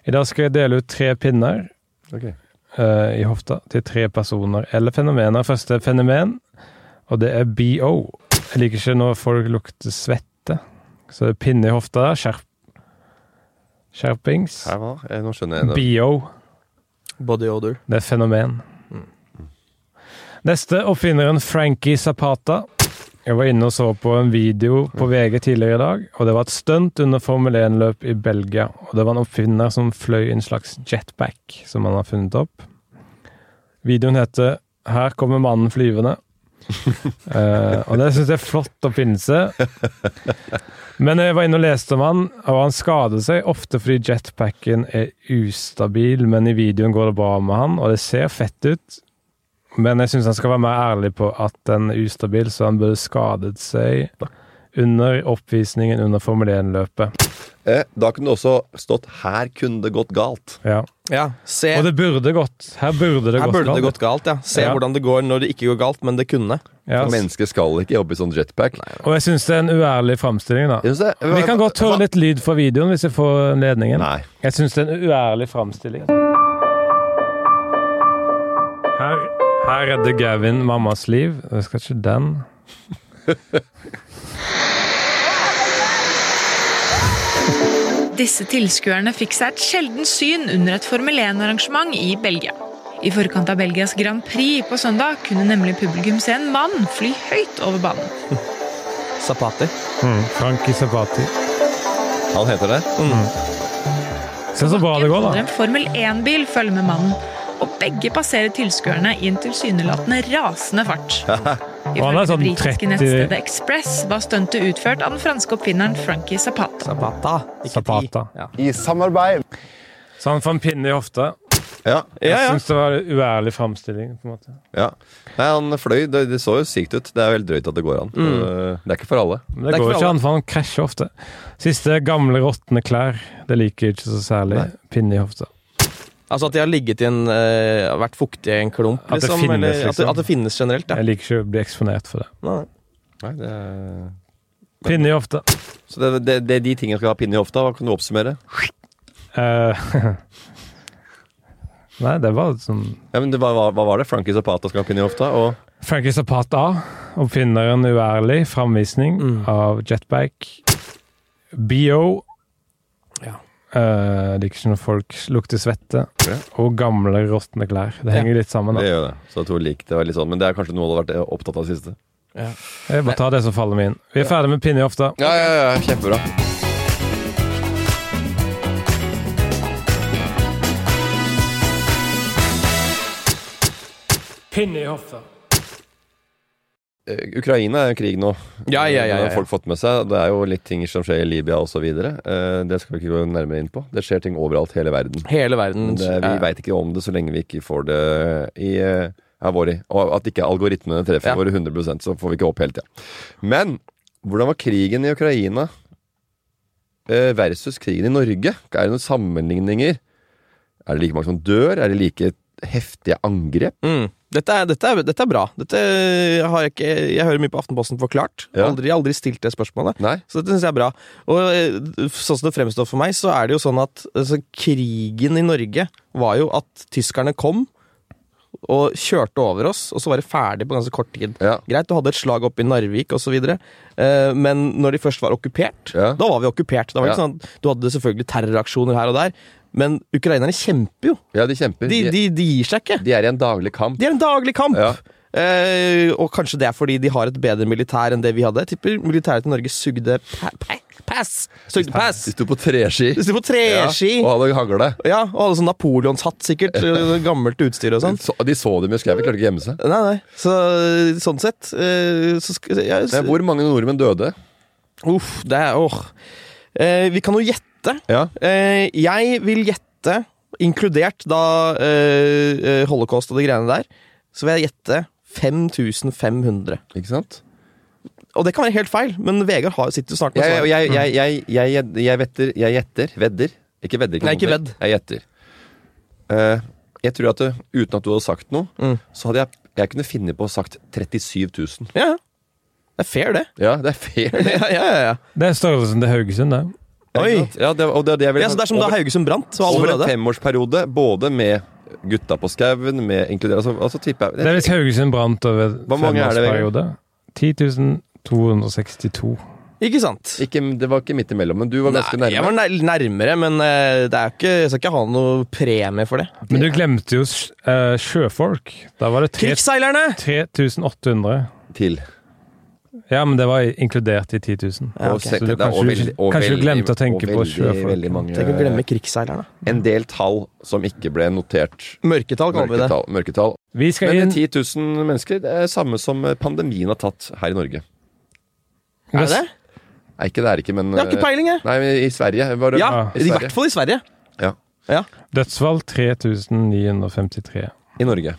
I dag skal jeg dele ut tre pinner Mhm. Ok. eh, i hofta til tre personer eller fenomener. Første er fenomen, og det er BO. Jeg liker ikke når folk lukter svette. Så det er pinne i hofta der. Skjerp. Skjerpings. Her var- eh, Nå skjønner jeg det. BO. Body odor. Det er et fenomen. Neste oppfinneren Frankie Zapata. Jeg var inne og så på en video på VG tidligere i dag, og det var et stunt under Formel 1-løp i Belgia. Og det var en oppfinner som fløy en slags jetpack som han har funnet opp. Videoen heter 'Her kommer mannen flyvende'. Eh, og det syns jeg er flott oppfinnelse. Men jeg var inne og leste om han, og han skader seg ofte fordi jetpacken er ustabil, men i videoen går det bra med han, og det ser fett ut. Men jeg syns han skal være mer ærlig på at den er ustabil, så han burde skadet seg under oppvisningen under Formel 1-løpet. Eh, da kunne det også stått 'Her kunne det gått galt'. Ja. Ja, se. Og det burde gått. Her burde det Her gått. burde det galt. gått galt, ja. Se Ja. hvordan det går når det ikke går galt, men det kunne. Ja, For Mennesker skal ikke jobbe i sånn jetpack. og jeg syns det er en uærlig framstilling, da. Jeg synes det- Vi kan godt høre litt lyd fra videoen hvis jeg får ledningen. Nei. Jeg syns det er en uærlig framstilling. Her, her redder Gavin mammas liv. Jeg skal ikke den. Disse tilskuerne fikk seg et sjeldent syn under et Formel 1-arrangement i Belgia. I forkant av Belgias Grand Prix på søndag kunne nemlig publikum se en mann fly høyt over banen. Zapati. Frankie Sabati. Mm. Mm. Han heter det? Mm. Se så bra det går, Etter da. en Formel 1-bil følger med mannen, og begge passerer tilskuerne i en tilsynelatende rasende fart. Og han er det sånn britiske 30 nettstedet Express var stuntet utført av den franske oppfinneren Frankie Zapata. Zapata. Ikke Zapata. ti. Ja. Så han får en pinne i hofta. Ja. Jeg Ja, ja. syns det var en uærlig framstilling. på en måte. ja. Nei, han fløy. Det, det så jo sykt ut. Det er jo helt drøyt at det går an. Eh, Det er ikke for alle. Men Det det, er går ikke ikke alle. an, for han krasjer ofte. Siste er gamle, råtne klær. Det liker jeg ikke så særlig. Pinne i hofta. Altså at de har ligget i en eh, Vært fuktige i en klump, At det liksom. finnes, eller, At, liksom. det, at det finnes generelt, ja. Jeg liker ikke å bli eksponert for det. Nei. Nei, det er... Pinne i hofta. Så det, det, det er de tingene som skal ha pinne i hofta. Hva kan du oppsummere? Eh, Nei, det var sånn Ja, men det, var- hva, hva var det? Frankie Zapata skal ha pinne i hofta, og Frankie Zapata, oppfinneren uærlig, framvisning Mm. av jetbike. BO. Ja. Eh, liker ikke når folk lukter svette. Ja. Og gamle, råtne klær. Det henger litt sammen. Det da. gjør jo det. Så jeg tror lik det var litt sånn. Men det er kanskje noe du har vært eh, opptatt av siste. Jeg bare tar det som faller meg inn. Vi er ferdig med pinne i hofta. Ja, ja, ja. Kjempebra. Pinne i hofta. Eh, Ukraina er jo krig nå. Ja, ja, ja, Det ja, har ja. folk fått med seg. Det er jo litt ting som skjer i Libya osv. Eh, Det skal vi ikke gå nærmere inn på. Det skjer ting overalt i hele verden. Hele verden. Men det, vi eh, veit ikke om det så lenge vi ikke får det i eh, er vår i. Og at ikke algoritmene treffer Ja. våre 100 så får vi ikke håp hele tida. Men hvordan var krigen i Ukraina eh, versus krigen i Norge? Er det noen sammenligninger? Er det like mange som dør? Er det like heftige angrep. Mm. Dette, er, dette, er, dette er bra. Dette har jeg ikke Jeg hører mye på Aftenposten forklart. Ja. Aldri, aldri stilt det spørsmålet. Nei? Så dette syns jeg er bra. Og eh, sånn som det fremstår for meg, så er det jo sånn at altså, krigen i Norge var jo at tyskerne kom og kjørte over oss, og så var det ferdig på ganske kort tid. Ja. Greit, du hadde et slag oppe i Narvik osv., eh, men når de først var okkupert, Ja. da var vi okkupert. Da var det Ja. ikke sånn at Du hadde selvfølgelig terroraksjoner her og der, men ukrainerne kjemper jo. Ja, de kjemper. De, de, de gir seg ikke. de er i en daglig kamp. De er en daglig kamp! Ja. Eh, og kanskje det er fordi de har et bedre militær enn det vi hadde. Jeg tipper militæret til Norge sugde pa pa pass! Sugde pass! De sto på treski. De sto på treski! Ja, Ja. og hadde hagle. og hadde sånn napoleonshatt, sikkert. eh, Gammelt utstyr og sånn. Så, de så dem jo skrevet, klarte ikke å gjemme seg. Nei, nei. Så, sånn sett eh, så, sk- ja, s- Men hvor mange nordmenn døde? Uff, det er åh. Eh, vi kan jo gjette. Ja. Eh, jeg vil gjette, inkludert da eh, eh, holocaust og de greiene der, så vil jeg gjette 5500. Ikke sant? Og det kan være helt feil, men Vegard har, sitter jo snart med Jeg, svaret. jeg, jeg, jeg, jeg, jeg, jeg vetter Jeg gjetter. Vedder. Ikke vedder. Nei, ikke vedder. vedd. Jeg gjetter. Eh, jeg tror at det, uten at du hadde sagt noe, Mm. så hadde jeg Jeg kunne finne på å sagt 37 000. Ja, ja. det er fair, det. Ja, det er fair. ja, ja, ja, ja. Det er størrelsen til Haugesund, det. Oi! Ikke sant? Ja, det, og det, er det jeg ville Ja, så det er som da over- Haugesund brant, så alle Over en døde. femårsperiode, både med gutta på skauen, med inkludert altså, altså tipper jeg Det er hvis Haugesund brant over Hvor mange er det, femårsperiode. 10.262. Ikke sant? ikke, Det var ikke midt imellom, men du var ganske Nei, Jeg var nærme. nær- nærmere, men eh, det er jo ikke, jeg skal ikke ha noe premie for det. Men du glemte jo sj- eh, sjøfolk. Da var det tre- Krigsseilerne! 3800. Til. Ja, men det var inkludert i 10 000. Ja, ok. Så du kanskje, du- kanskje du glemte å tenke på sjøfolk. sjøfolk. Veldig mange, Tenk å glemme krigsseilerne. En del tall som ikke ble notert. Mørketall kaller vi det. Mørketall. mørketall. Vi skal Men inn 10 000 mennesker det er samme som eh, pandemien har tatt her i Norge. Er det det? Nei, ikke det er ikke, men eh, Jeg har ikke peiling, jeg. Nei, men i Sverige var det Ja, Ja, i I Sverige. hvert fall i Sverige. Ja. Ja. Dødsfall 3953. I Norge.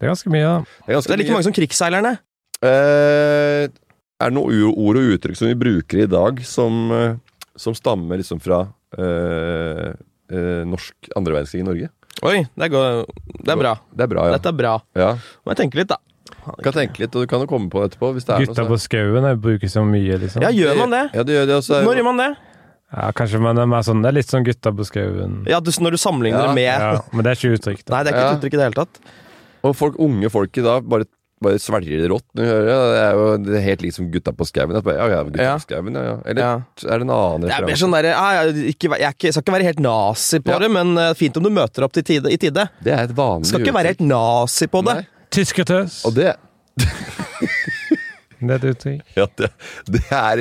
Det er ganske mye, da. Det er Det ganske er like mange som krigsseilerne. Eh, er det noen u- ord og uttrykk som vi bruker i dag, som, eh, som stammer liksom fra eh, eh, norsk andre verdenskrig i Norge? Oi, det er, go- det er bra. Det er bra, ja. Dette er bra. ja. Må jeg tenke litt, da. Du kan tenke litt, og du kan jo komme på det etterpå. Hvis det er Gutta på skauen jeg bruker så mye, liksom. Ja, gjør man det? Ja, det gjør det også. Når gjør man det? Ja, kanskje man er mer sånn, det er litt sånn gutta på skauen. Ja, du, Når du sammenligner Ja. det med Ja, men det er ikke uttrykk, da. Nei, det er ikke Ja. et uttrykk i det hele tatt. Og folk, unge folk i dag bare, bare svelger det rått når de hører det. Det er jo det er helt liksom gutta på skauen. at bare, Ja, ja, gutta Ja. på skauen, ja, ja. Eller Ja. er det en annen Det er mer referanse? sånn der, ja, ja, ikke, væ- jeg, er ikke, jeg skal ikke være helt nazi på Ja. det, men eh, fint om du møter opp til tide, i tide. Det er et vanlig Skal ikke være uttrykk. helt nazi på det. Nei. Tyskertøs! Og det, Det er et uttrykk. ja, det, det er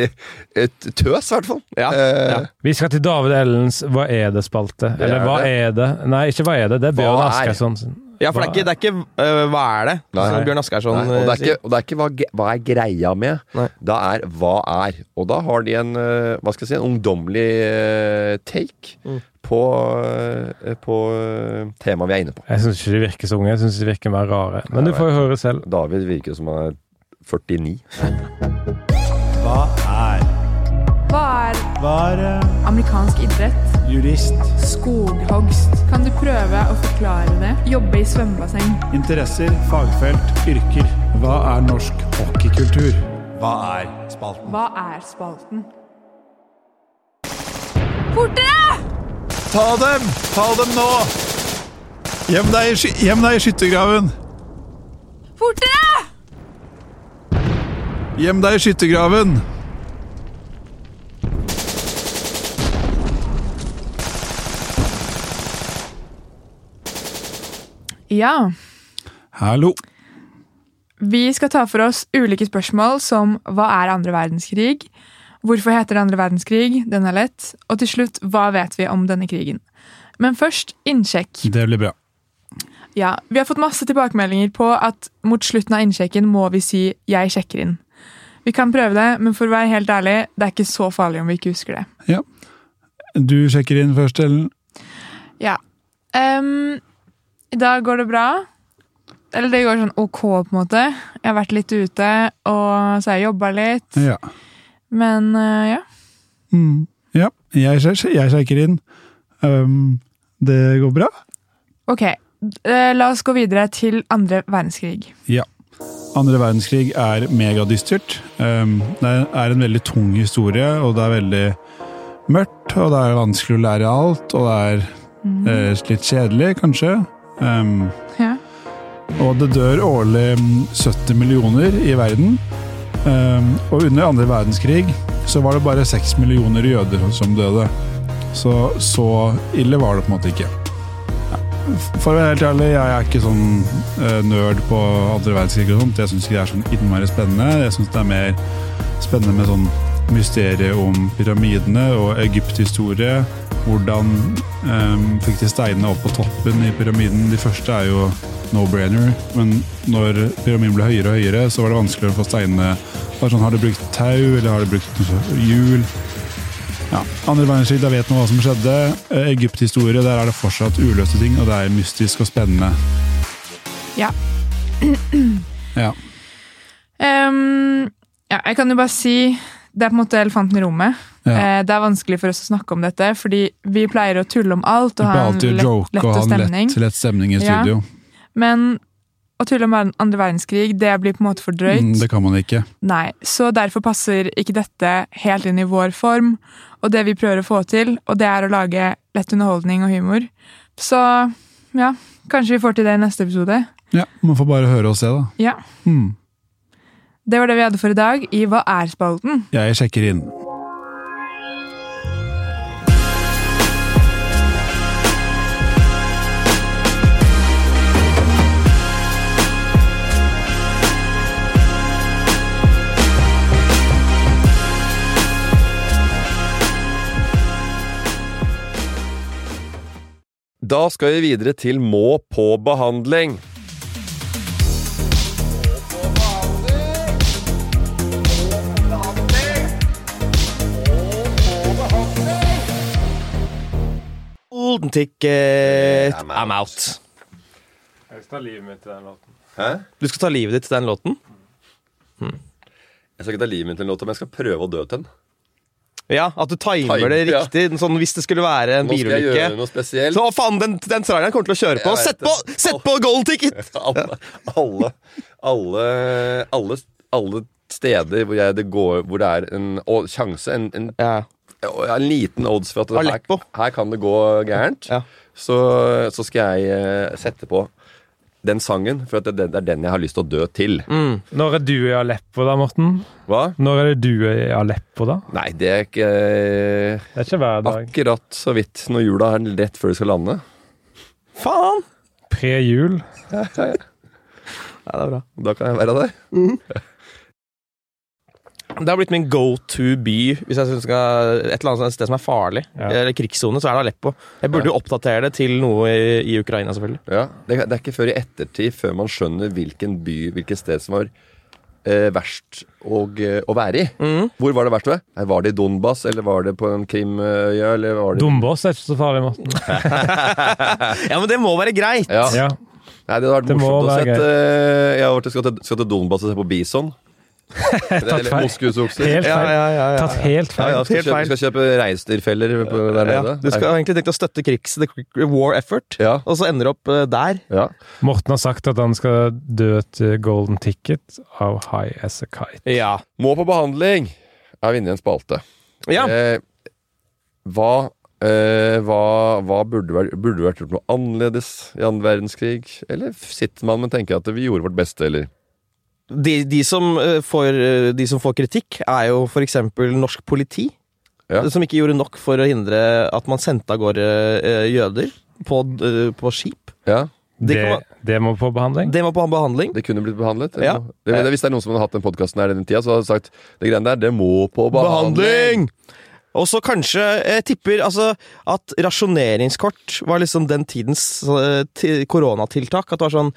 et tøs, i hvert fall. Ja, Eh, ja. Vi skal til David Ellens Hva er det-spalte. Eller er Hva det. er det? Nei, ikke Hva er det. Det er Bjørn Hva er? Askersson. Ja, for det er ikke, det er ikke eh, Hva er det? Nei. Som Bjørn Askersson Nei, og det er sier. ikke, og det er ikke hva, ge- hva er greia med. Sånn, eh, Nei. Det er hva er. Og da har de en eh, hva skal jeg si, en ungdommelig eh, take Mm. på, eh, på eh, temaet vi er inne på. Jeg syns ikke de virker så unge. Jeg syns de virker mer rare. Men du får jo høre selv. David virker som han er 49. Hva er Amerikansk idrett. Jurist. Skoghogst. Kan du prøve å forklare det? Jobbe i svømmebasseng. Interesser, fagfelt, yrker. Hva er norsk hockeykultur? Hva er spalten? Hva er spalten? Fortere! Ta dem! Ta dem nå! Gjem deg i, sky- gjem deg i skyttergraven! Fortere! Gjem deg i skyttergraven! Ja, Hallo. vi skal ta for oss ulike spørsmål som hva er andre verdenskrig? Hvorfor heter det andre verdenskrig? Den er lett. Og til slutt, hva vet vi om denne krigen? Men først innsjekk. Det blir bra. Ja, Vi har fått masse tilbakemeldinger på at mot slutten av innsjekken må vi si 'jeg sjekker inn'. Vi kan prøve det, men for å være helt ærlig, det er ikke så farlig om vi ikke husker det. Ja. Du sjekker inn først, Ellen. Ja. Ehm, I dag går det bra. Eller det går sånn ok, på en måte. Jeg har vært litt ute, og så har jeg jobba litt. Ja. Men eh, ja. Mm. ja. Jeg, sjek- jeg sjekker inn. Um, det går Ehm, bra? Ok, eh, la oss gå videre til andre verdenskrig. Ja. Andre verdenskrig er megadystert. Um, Det er en veldig tung historie, og det er veldig mørkt, og det er vanskelig å lære alt, og det er eh, litt kjedelig, kanskje. Um, Mhm. Ja. Og det dør årlig mm, 70 millioner i verden. Um, Og under andre verdenskrig så var det bare 6 millioner jøder som døde. Så så ille var det på en måte ikke. Ja. For å være helt ærlig, jeg er ikke sånn eh, nerd på andre verdenskrig og sånt. Jeg syns ikke det er sånn innmari spennende. Jeg syns det er mer spennende med sånn mysteriet om pyramidene og Egypt-historie. Hvordan eh, fikk de steinene opp på toppen i pyramiden? De første er jo no-brainer, men når pyramiden ble høyere og høyere, så var det vanskeligere å få steinene Det var sånn, Har de brukt tau, eller har de brukt noe hjul? Ja, Andre verdenskrig, da vet man hva som skjedde. Eh, Egypt-historie, der er det fortsatt uløste ting, og det er mystisk og spennende. Ja. Ja. Ehm, ja, jeg kan jo bare si det er på en måte elefanten i rommet. Eh, det er vanskelig for oss å snakke om dette, fordi vi pleier å tulle om alt Vi og pleier ha en alltid å lett, joke og ha lett en stemning. lett, lett stemning i Ja. studio. Men å tulle om verden- andre verdenskrig, det blir på en måte for drøyt. Mm, det kan man ikke. Nei, så derfor passer ikke dette helt inn i vår form og det vi prøver å få til, og det er å lage lett underholdning og humor. Så ja, kanskje vi får til det i neste episode. Ja, Man får bare høre og se, da. Ja. Mm. Det var det vi hadde for i dag i Hva er-spalten. Jeg sjekker inn. Da skal vi videre til må på behandling. Golden ticket. I'm out. Jeg skal ta livet mitt i den låten. Hæ? Du skal ta livet ditt til den låten? Jeg skal ikke ta livet mitt til en låt, men jeg skal prøve å dø til den. Ja, At du timer Time, det ja. riktig. Sånn, hvis det skulle være en Nå skal jeg gjøre bilulykke. noe spesielt. Så faen, den, den traileren kommer til å kjøre på! Jeg Sett vet på, det. sett på golden ticket! alle, alle, alle, alle, alle steder hvor, jeg, det går, hvor det er en å- sjanse, en, en, Ja. ja, en liten odds for at det, Aleppo. her, her kan det gå gærent, Ja. så, så skal jeg eh, sette på den sangen, for at det, det er den jeg har lyst til å dø til. Mm. Når er du i Aleppo, da, Morten? Hva? Når er det du er i Aleppo, da? Nei, det er ikke eh, Det er ikke hver dag. akkurat så vidt når jula er rett før det skal lande. Faen! Pre-jul. Ja, det er bra. Da kan jeg være der. Det har blitt min go to by hvis jeg synes jeg skal et eller annet sånt sted som er farlig. Ja. Eller krigssone, så er det Aleppo. Jeg burde jo oppdatere det til noe i, i Ukraina, selvfølgelig. Ja, det, det er ikke før i ettertid, før man skjønner hvilken by, hvilket sted som var eh, verst og, eh, å være i. Mm. Hvor var det verst? ved? Nei, Var det i Donbas, eller var det på en Krimøya, eller var det Dombås er ikke så farlig, Morten. Ja, men det må være greit! ja. Ja. Nei, det hadde vært Det må morsomt å være sette eh, Jeg har vært, skal, til, skal til Donbas og se på bison. eller feil. moskusokser. Helt Ja, feil. ja, ja, ja. Tatt helt Ja, feil. ja, skal, Helt kjøpe, feil. skal kjøpe reinsdyrfeller på- der Ja, nede. du skal ha egentlig tenkt å støtte krigs the war effort, Ja. og så ender du opp eh, der. Ja. Morten har sagt at han skal dø til Golden Ticket av High As A Kite. Ja. Må på behandling! Er vi inne i en spalte. ja. Eh, hva eh, hva, hva burde, vært, burde vært gjort noe annerledes i annen verdenskrig? Eller sitter man men tenker at vi gjorde vårt beste, eller? De, de, som eh, får, eh, de som får kritikk, er jo for eksempel norsk politi. Ja. Som ikke gjorde nok for å hindre at man sendte av gårde eh, jøder på, eh, på skip. Ja, Det, Det kan man- det må på behandling. Det må på behandling. Det kunne blitt behandlet. eller Ja. noe. Det, det, hvis det er noen som hadde hatt den podkasten her i den tida, så hadde de sagt det greiene der, det må på behandling! Behandling! Og så kanskje jeg tipper altså, at rasjoneringskort var liksom den tidens eh, ti- koronatiltak. At det var sånn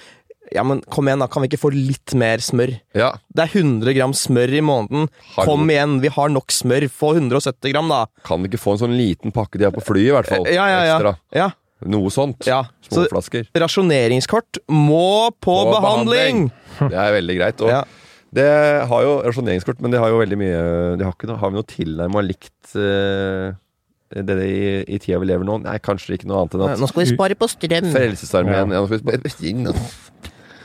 Ja, men kom igjen, da. Kan vi ikke få litt mer smør? Ja. Det er 100 gram smør i måneden. Hallo. Kom igjen, vi har nok smør. Få 170 gram, da. Kan vi ikke få en sånn liten pakke de har på flyet, i hvert fall? Ja, ja, ja. Ekstra. ja. Noe sånt. ja. Små Så flasker. rasjoneringskort må på Og behandling! Det er veldig greit. Og Ja. det har jo rasjoneringskort, men det har jo veldig mye De har, ikke noe, har vi noe tilnærma likt eh, det i, i tida vi lever nå? Nei, kanskje ikke noe annet enn at Nå skal vi spare på strøm. Frelsesarmeen ja. nå skal vi spare-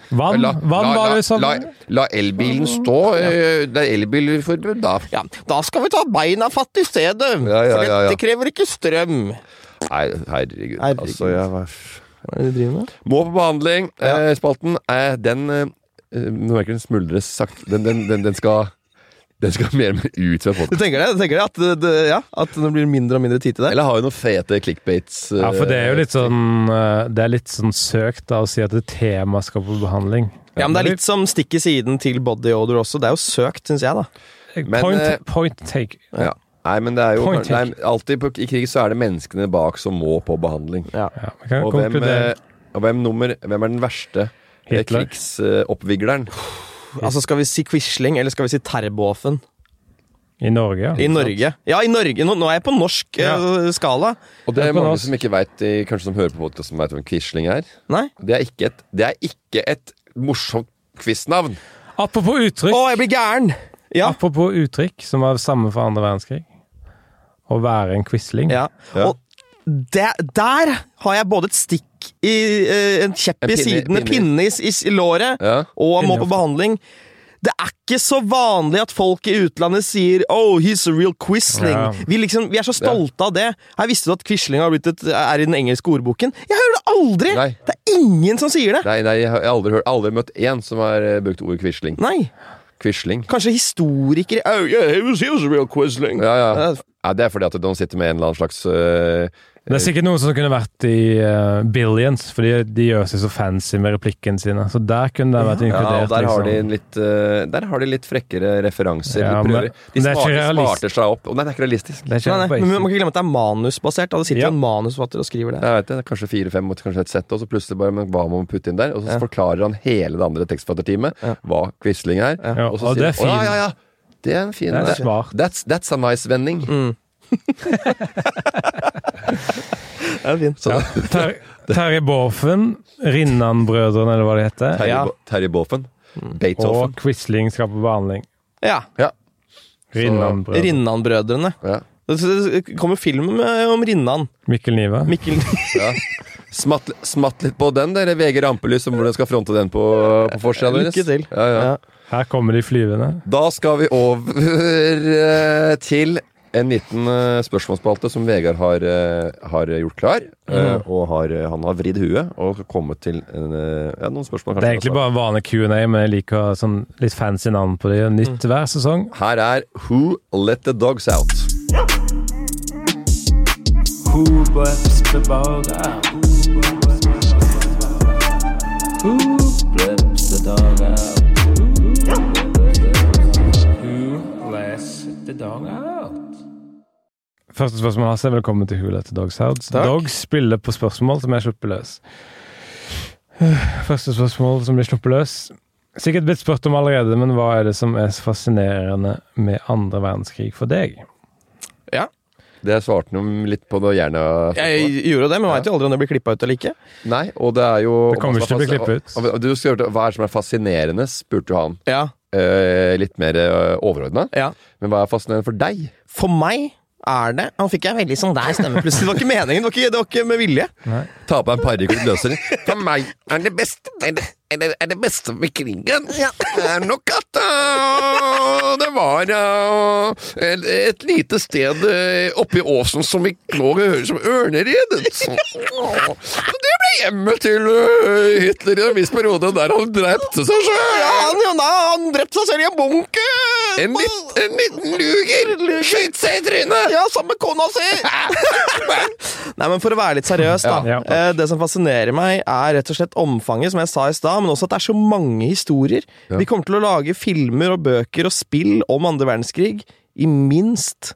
Vann, La- vann la- var det la, samme. la, la elbilen stå. eh, Det er elbilforbud, da. Ja, da skal vi ta beina fatt i stedet, Ja, ja, for ja, ja. dette krever ikke strøm. Nei, herregud. Herregud. Altså, jeg var Hva er det de driver med? Må på behandling. Eh, spalten er den eh, eh, Nå merker jeg den smuldres sakte. Den, den, den, den skal Den skal mer og mer ut fra Du podkasten. tenker det? Du tenker det at, det, det- ja, at det blir mindre og mindre tid til deg? Eller har jo noen fete clickbaits. eh, Ja, for det er jo litt sånn eh, Det er litt sånn søkt da, å si at et tema skal på behandling. Ja, men Det er litt som stikk i siden til body odor også. Det er jo søkt, syns jeg. da. men, eh, Point, point take. ja. Nei, men det er jo Point nei, alltid på, i krig så er det menneskene bak som må på behandling. Ja, vi kan Og hvem, eh, konkludere. og hvem, nummer, hvem er den verste eh, Hitler. krigsoppvigleren? Altså, Skal vi si Quisling, eller skal vi si Terboven? I Norge, I ja. Norge. Ja, i Norge! Nå, nå er jeg på norsk eh, skala. Og det Ja, er på mange oss. som ikke vet, eh, kanskje som hører på podkasten, som vet hvem Quisling er. Nei? Det er ikke et, det er ikke et morsomt quiznavn. Apropos Å, uttrykk, jeg blir gæren! Ja. apropos uttrykk som var det samme for andre verdenskrig. Å være en quisling. ja. Ja. Og det, der har jeg både et stikk i eh, En kjepp En i pinne- siden, en pinne pinne i, i, i låret, Ja. og må Pinne i på hofta. behandling. Det er ikke så vanlig at folk i utlandet sier 'Oh, he's a real quisling'. Ja. Vi, liksom, vi er så stolte av det. Her visste du at quisling har blitt et, er i den engelske ordboken. Jeg hører det aldri! Nei. Det er ingen som sier det! Nei, nei, jeg har aldri, hørt, aldri møtt én som har eh, brukt ordet quisling. Nei. Quisling. Kanskje historikere Oh, yeah, he was, he was a real quisling. Ja, ja. Ja. Nei, det er fordi at de sitter med en eller annen slags eh, Det er sikkert noen som kunne vært i eh, Billions, fordi de gjør seg så fancy med replikkene sine. Så der kunne de vært ja, og inkludert. der har, de liksom. en litt, eh, der har de litt frekkere referanser. Ja, de men- prøver, de men det er smarte, ikke realist- smarter seg opp. Å, nei, det er ikke realistisk. Det er Nei, ikke nei, men Man basic. kan ikke glemme at det er manusbasert. Da. Det sitter Ja. jo en manusforfatter og skriver det. Jeg vet det, det er Kanskje fire-fem, kanskje et sett, og så plutselig bare men hva må man putte inn der? Og så forklarer han hele det andre tekstforfatterteamet hva Quisling er. Ja, Og så og det sier han, å, er fin. ja, ja, ja. Det er en fin Det er det- smart. Mm, That's, that's a nice vending. Det er fint. Ter Terje Borfen, Rinnan-brødrene, eller hva det heter, Terje, Ja. Bo- Terje Boffen. Beethoven. Mm. og Quisling skal på behandling. Ja. Ja. Rinnan-brødrene. Rinnan-brødrene. ja. Det det kommer film med- om Rinnan. Mikkel Niva. Mikkel Ja. Smatt, smatt litt på den, dere VG Rampelys, om hvordan skal fronte den på, på forsida deres. Lykke til. Ja, ja. Ja. Her kommer de flyvende. Da skal vi over eh, til en liten eh, spørsmålsspalte som Vegard har, eh, har gjort klar. eh, Mhm. Og har, eh, han har vridd huet og kommet til en, eh, ja, noen spørsmål. kanskje Det er egentlig han har bare vanlig Q&A, men jeg liker å ha sånn litt fancy navn på det. Nytt hver sesong. svart. Her er Who Let The Dogs Out. Første spørsmål Hasse, velkommen til Hula til Dogs House. Dogs spiller på spørsmål som er sluppet løs. Første spørsmål som blir sluppet løs. Sikkert blitt spurt om allerede, men hva er det som er så fascinerende med andre verdenskrig for deg? Det svarte han litt på det jernet. Jeg gjorde jo det, men veit jo aldri om det blir klippa ut eller ikke. Nei, og det er jo Det kommer ikke til å bli klippet ut. Og- og Du skal høre til- Hva er det som er fascinerende, spurte jo han. Ja, eh, litt mer uh, overordna. ja. Men hva er fascinerende for deg? For meg er det Han fikk jeg veldig sånn der stemme plutselig. Det var ikke meningen, det var ikke, det var ikke med vilje. Ta på deg en parykk og løser det. For meg er det beste er det, er det, er det beste med krigen er nok at øh, det var øh, et, et lite sted øh, oppe i åsen som vi lå og hørte som ørneredet. Så, åh. Så det ble hjemmet til øh, Hitler i en viss periode, der han drepte seg sjøl. Ja, han, han, han drepte seg selv i en bunker! En, litt, en liten luger skjøt seg i trynet. Ja, sammen med kona si! Nei, men For å være litt seriøs, da. Ja, ja. eh, Det som fascinerer meg, er rett og slett omfanget, som jeg sa i stad, men også at det er så mange historier. Vi kommer til å lage filmer og bøker og spill om andre verdenskrig i minst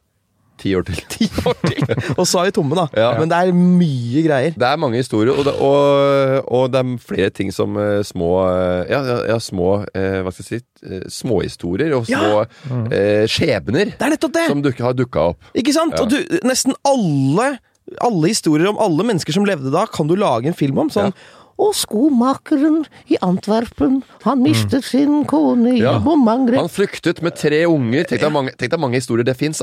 Ti år til. ti år til! Og så er vi tomme, da. Ja. Men det er mye greier. Det er mange historier, og det, og, og det er flere ting som eh, små eh, Ja, ja, ja små eh, Hva skal jeg si eh, Småhistorier og små eh, skjebner Mm. Det er nettopp det! som dukke, har dukka opp. Ikke sant? Og du, nesten alle, alle historier om alle mennesker som levde da, kan du lage en film om. Sånn Og skomakeren i Antwerpen, han mistet sin kone i Mm. Ja. bomangre. Han flyktet med tre unger. Tenk deg mange, tenk deg mange historier det fins.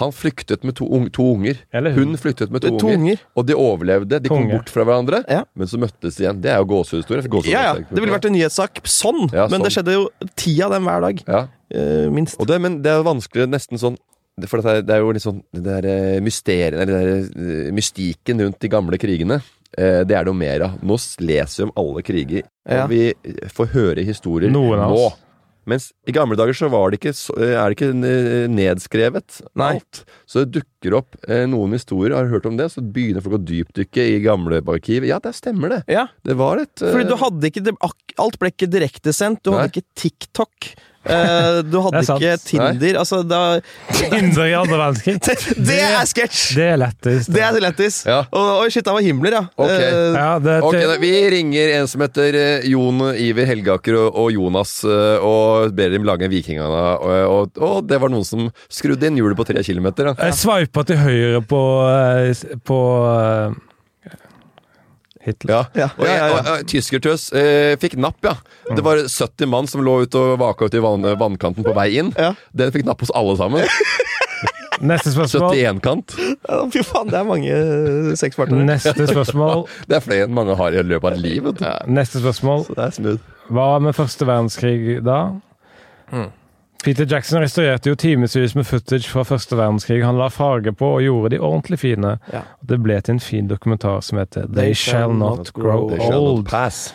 Han flyktet med to, ung- to unger. hun. flyktet med to, To unger. Og de overlevde. De kom unger. bort fra hverandre, men så møttes de igjen. Det er jo gåsehudhistorie. Gåsehud, Ja, ja. Det ville vært en nyhetssak sånn, Ja, men det sånn. skjedde jo ti av dem hver dag. eh, minst. Og det, men det er vanskelig nesten sånn det- For dette, er- det er jo litt sånn Det der, eh, mysteriet, eller det der eh, mystikken rundt de gamle krigene, eh, det er det jo mer av. Nå s- leser vi om alle kriger, Ja. og vi får høre historier Noen nå. av oss. Mens i gamle dager så var det ikke, så- er det ikke eh, nedskrevet alt. Så det dukker opp eh, noen historier, har du hørt om det, så begynner folk å dypdykke i gamle arkiv. Ja, det stemmer det. Det var et eh, Fordi du hadde ikke det- ak- Alt ble ikke direktesendt. Du hadde ikke TikTok. eh, Du Det hadde er sant. ikke Tinder. Altså, da Indre i andre verdenskrig. Det, er sketsj! Det er lettis. Det er lettis. Og, og shit, han var himler, ja. Ok, Eh, Ok, da, Vi ringer en som heter eh, Jon Iver Helgaker og, og Jonas eh, og ber dem lage Vikingene. Og, og, og det var noen som skrudde inn hjulet på tre kilometer. Da. Jeg sveipa til høyre på, eh, s- på eh, Hitler. Og, jeg, og, og, tyskertøs eh, fikk napp, ja. Det var 70 mann som lå ute og vaka ute i vann, eh, vannkanten på vei inn. Den fikk napp hos alle sammen. Neste spørsmål. 71-kant. Ja, Fy faen, det er mange sexpartnere. Neste spørsmål. det er flere enn mange har i løpet av et liv. vet du. Neste spørsmål. Hva med første verdenskrig da? Mm. Peter Jackson restaurerte jo timevis med footage fra første verdenskrig. Han la farge på og gjorde de ordentlig fine. Og Det ble til en fin dokumentar som heter They, Shall Not Grow They shall not Old. pass.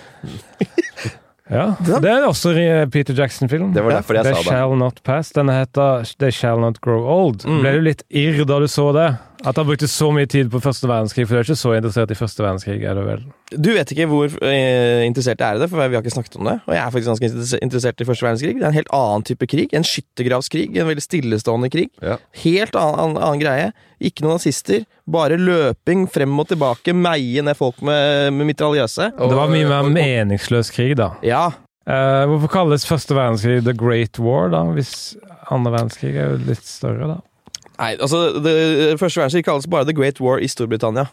ja, Det er også en Peter Jackson-film. Det var derfor jeg They sa det. Shall Not Pass. Denne heter They Shall Not Grow Old. Mm. Ble du litt irr da du så det? At han brukte så mye tid på første verdenskrig, for du er ikke så interessert i første verdenskrig, er du vel? Du vet ikke hvor eh, interessert jeg er i det, for vi har ikke snakket om det. Og jeg er faktisk ganske interesse- interessert i første verdenskrig. Det er en helt annen type krig. En skyttergravskrig. En veldig stillestående krig. Helt annen, annen, annen greie. Ikke noen nazister. Bare løping frem og tilbake, meie ned folk med, med mitraljøse. det var mye mer meningsløs krig, da. Ja. Eh, hvorfor kalles første verdenskrig The Great War, da? Hvis andre verdenskrig er jo litt større, da. Nei, altså, det, Første verdenskrig kalles bare The Great War i Storbritannia.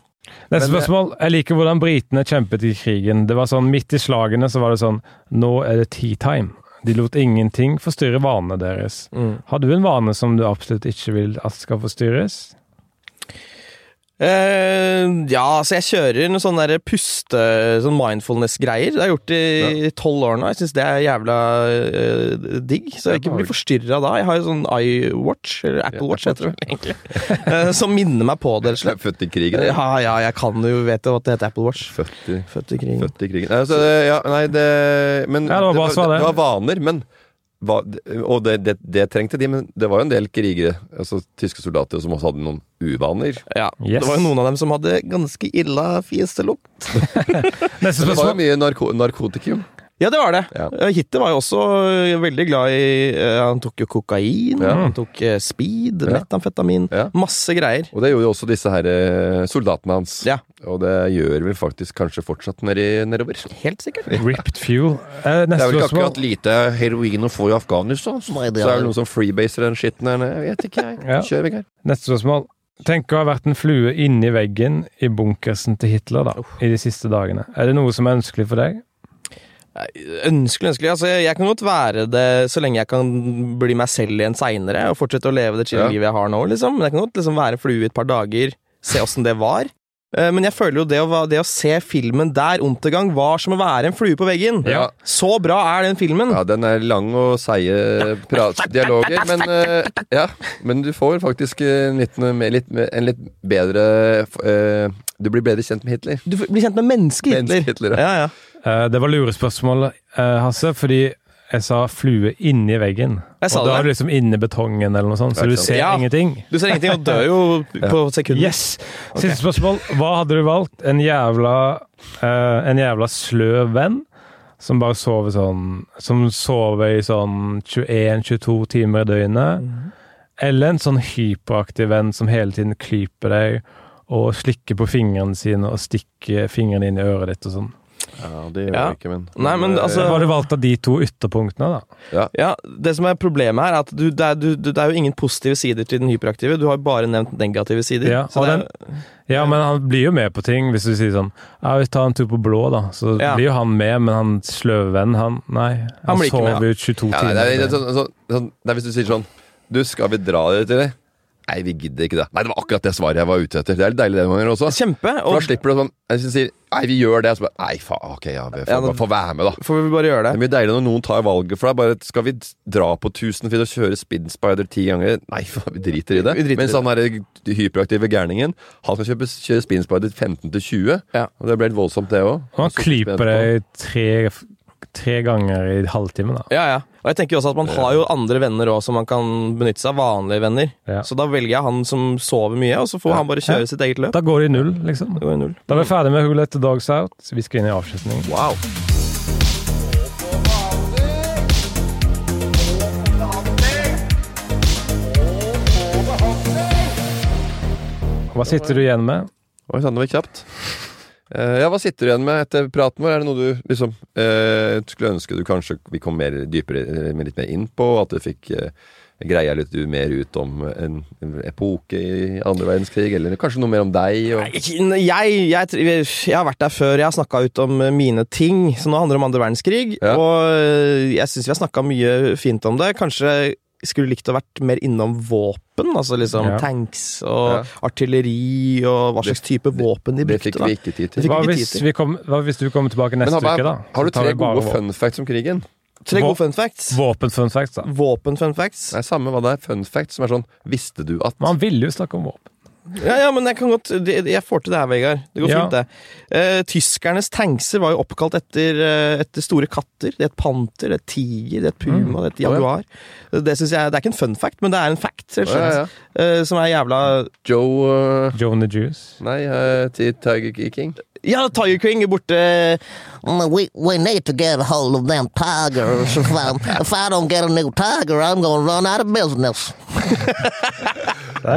Neste Men- spørsmål. Jeg liker hvordan britene kjempet i krigen. Det var sånn Midt i slagene så var det sånn Nå er det tea time. De lot ingenting forstyrre vanene deres. Mm. Har du en vane som du absolutt ikke vil at skal forstyrres? Eh, ja, så jeg kjører noen sånne der puste, sånn mindfulness-greier. Det har jeg gjort i tolv år nå. Jeg syns det er jævla eh, digg. Så jeg ikke blir forstyrra da. Jeg har jo sånn iWatch, eller Apple Watch heter det vel egentlig, eh, som minner meg på det. rett og slett. Født i krigen. Ja, ja, jeg kan jo vet jo at det heter Apple Watch. Født i, krigen. Født i krigen. Nei, altså, det- ja, nei, det, men, Ja, det var bra svar, det. det var vaner, men hva- og det, det, det trengte de, men det var jo en del krigere, altså tyske soldater, som også hadde noen uvaner. Ja, Yes. Det var jo noen av dem som hadde ganske illa fjeselukt. Neste Det var jo mye narko narkotikum. Ja, det var det. Ja. Hitler var jo også ø, veldig glad i ø, Han tok jo kokain, han tok ø, speed, metamfetamin, masse greier. Og det gjorde jo også disse her eh, soldatene hans. Og det gjør vi faktisk kanskje fortsatt nedi, nedover. Helt sikkert. Ripped fuel. Eh, det neste er vel ikke spørsmål. akkurat lite heroin å få i Afghanistan. Så Nei, er det det er- vel noen som freebaser den skitten her. nede. Jeg vet ikke, jeg. Ja. Kjør Vegard. Neste spørsmål. Tenk å ha vært en flue inni veggen i bunkersen til Hitler da, i de siste dagene. Er det noe som er ønskelig for deg? Ønskelig, ønskelig. Altså, jeg jeg kan godt være det så lenge jeg kan bli meg selv igjen seinere og fortsette å leve det chille Ja. livet jeg har nå. Liksom. Men jeg kan godt liksom, være en flue i et par dager, se åssen det var. Eh, Men jeg føler jo det å, va- det å se filmen der Untergang var som å være en flue på veggen. Ja. Så bra er den filmen! Ja, den er lang og seige pra- dialoger, men, eh, ja, men du får faktisk eh, en litt, mer- litt, mer- en litt bedre eh, Du blir bedre kjent med Hitler. Du blir kjent med mennesket Hitler. ja, Eh, det var lurespørsmål, eh, Hasse, fordi jeg sa flue inni veggen. Jeg sa og da det. er du liksom inni betongen eller noe sånt, så Ja, du ikke sant. ser Ja. ingenting. Du ser ingenting og dør jo på sekunder. Yes! Siste spørsmål. Hva hadde du valgt? En jævla, eh, en jævla sløv venn? Som bare sover sånn Som sover i sånn 21-22 timer i døgnet. Mhm. Eller en sånn hyperaktiv venn som hele tiden klyper deg og slikker på fingrene sine og stikker fingrene inn i øret ditt og sånn. Ja, det gjør Ja. vi ikke, men Nei, men altså Var det valgt av de to ytterpunktene, da? Ja. Det som er problemet her, er at du, det, er, du, du, det er jo ingen positive sider til den hyperaktive. Du har jo bare nevnt negative sider. Ja, Så og det er- den, ja, men han blir jo med på ting. Hvis du sier sånn Ja, vi tar en tur på blå, da. Så Ja. blir jo han med, men han sløve vennen, han Nei. Han, blir ikke med, ja. sover jo 22 Ja, nei, timer. det, er, det, er sånn, sånn, sånn, det er hvis du sier sånn Du, skal vi dra dere til det? Nei, vi gidder ikke det. Nei, det var akkurat det svaret jeg var ute etter. Det er litt deilig det noen ganger også. Kjempe. For da slipper du sånn Hvis du sier Nei, vi gjør det. Så bare Nei, faen. Ok, ja, vi får Ja, da- bare få være med, da. Får vi bare gjøre det. Det er mye deiligere når noen tar valget for deg. Bare Skal vi dra på Tusenfryd og kjøre Spinspider ti ganger? Nei, faen, vi driter i det. Vi driter i Mens det. han derre hyperaktive gærningen, han skal kjøpe, kjøre Spinspider 15 til 20. Og det ble litt voldsomt, det òg. Og han klyper deg tre, tre ganger i halvtimen, da. Ja, ja. Og jeg tenker jo også at man har jo andre venner også, som man kan benytte seg av. Vanlige venner. Så da velger jeg han som sover mye, og så får han bare kjøre sitt eget løp. Da går det i null, liksom. Det går i null. Da er vi ferdig med Who Let The Dogs Out. så Vi skal inn i avslutning. Wow. Hva sitter du igjen med? Oi sann, det var kjapt. Eh, ja, Hva sitter du igjen med etter praten vår? Er det noe du liksom eh, skulle ønske du kanskje vi kom mer dypere eh, litt mer inn på? At du fikk eh, greia litt mer ut om en epoke i andre verdenskrig? Eller kanskje noe mer om deg? Og... Jeg, jeg, tr- jeg har vært der før, jeg har snakka ut om eh, mine ting. Så nå handler det om andre verdenskrig, og eh, jeg syns vi har snakka mye fint om det. Kanskje skulle likt å vært mer innom våpen, altså liksom Ja. tanks og Ja. artilleri og hva Det- slags type våpen de det brukte. fikk vi da. ikke tid Det til. fikk Hva vi ikke hvis, tid til. vi kom, hva hvis du kommer tilbake har, neste uke, da? har du Så tar tre vi bare gode våpen. fun facts om krigen? Tre gode fun facts? Våpen-fun facts, da. Våpen-fun facts? Nei, samme hva det er. Fun facts som er sånn Visste du at Man ville jo snakke om våpen. Ja, ja, men jeg kan godt det- Jeg får til det her, Vegard. Det går Ja. fint, det. Eh, tyskernes tankser var jo oppkalt etter, eh, etter store katter. Det het panter, det het tiger, det het puma, det Mm. Å, het ja. jaguar. Det synes jeg, det er ikke en fun fact, men det er en fact, rett og slett. Å, eh, som er jævla Joe uh, Joan the Juice? Nei, eh, til Tiger King. Ja, Tiger King er borte. We, we need to get a hold of them tigers. If I, if I don't get a new tiger, I'm going to run out of business.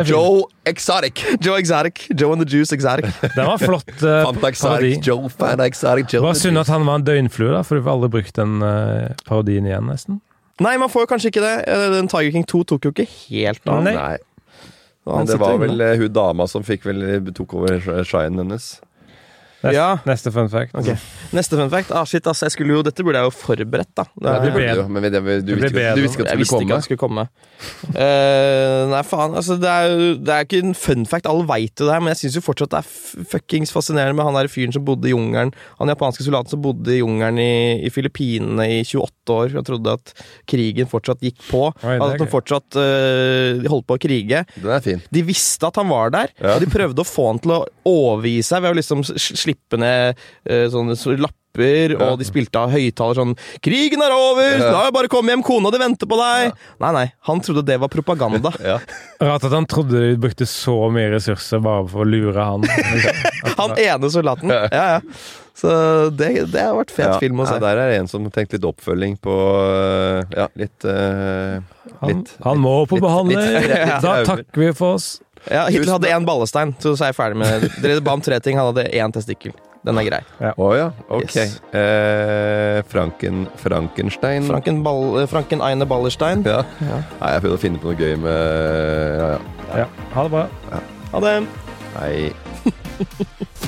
Joe Exotic. Joe Exotic. Joe and the Juice Exotic. Den var flott eh, Fanta parodi. Exotic, Joe Fanta Exotic, Joe Det var the synd at han var en døgnflue, da, for du får aldri brukt den eh, parodien igjen, nesten. Nei, man får jo kanskje ikke det. Eh, Den Tiger King 2 tok jo ikke helt av. Nei. Nei. Og han Men det sitter var inne. vel eh, hun dama som fikk vel, tok over sh- shinen hennes. Neste, Ah. Ja. neste fun fact. Ok. Neste fun fact. Ah, shit, ass, jeg skulle jo, dette burde jeg jo forberedt, da. Ja, Det det er- burde du, men det, du, Det visste ble ikke, bedre. du visste ikke at Jeg det visste ikke skulle at det skulle komme. Eh, nei, faen. Altså, det, er, jo- det er ikke en fun fact, alle veit jo det, her, men jeg syns fortsatt det er f- fuckings fascinerende med han der fyren som bodde i jungelen. Han japanske soldaten som bodde i jungelen i, i Filippinene i 28 år og trodde at krigen fortsatt gikk på. Oi, det er at de gøy. fortsatt eh, de holdt på å krige. komme. Den er fin. De visste at han var der, og de prøvde å få han til å overgi seg ved å liksom s- slippe ned eh, sånne s- lapper, og de spilte av høyttaler sånn 'Krigen er over! Da er det bare å komme hjem! Kona di venter på deg!' Nei, nei, han trodde det var propaganda. Rart at han trodde de brukte så mye ressurser bare for å lure han. Han ene soldaten. Ja, ja. Så det, det har vært fet Ja. film å Ja, se. der er det en som tenkte litt oppfølging på øh, Ja, litt øh, Han, Litt. han må på behandling! litt- litt- Da takker vi for oss. Ja, Hitler Tusen hadde én ballestein, så så er jeg ferdig med Dere ba om tre ting, han hadde én testikkel. Den er grei. Å ja, ok. Yes. Eh, Franken, Frankenstein Franken, Ball, Franken Eine Ballerstein. Ja. Nei, jeg prøvde å finne på noe gøy med Ja, ja. Ja, ha det bra. Ha det. Nei.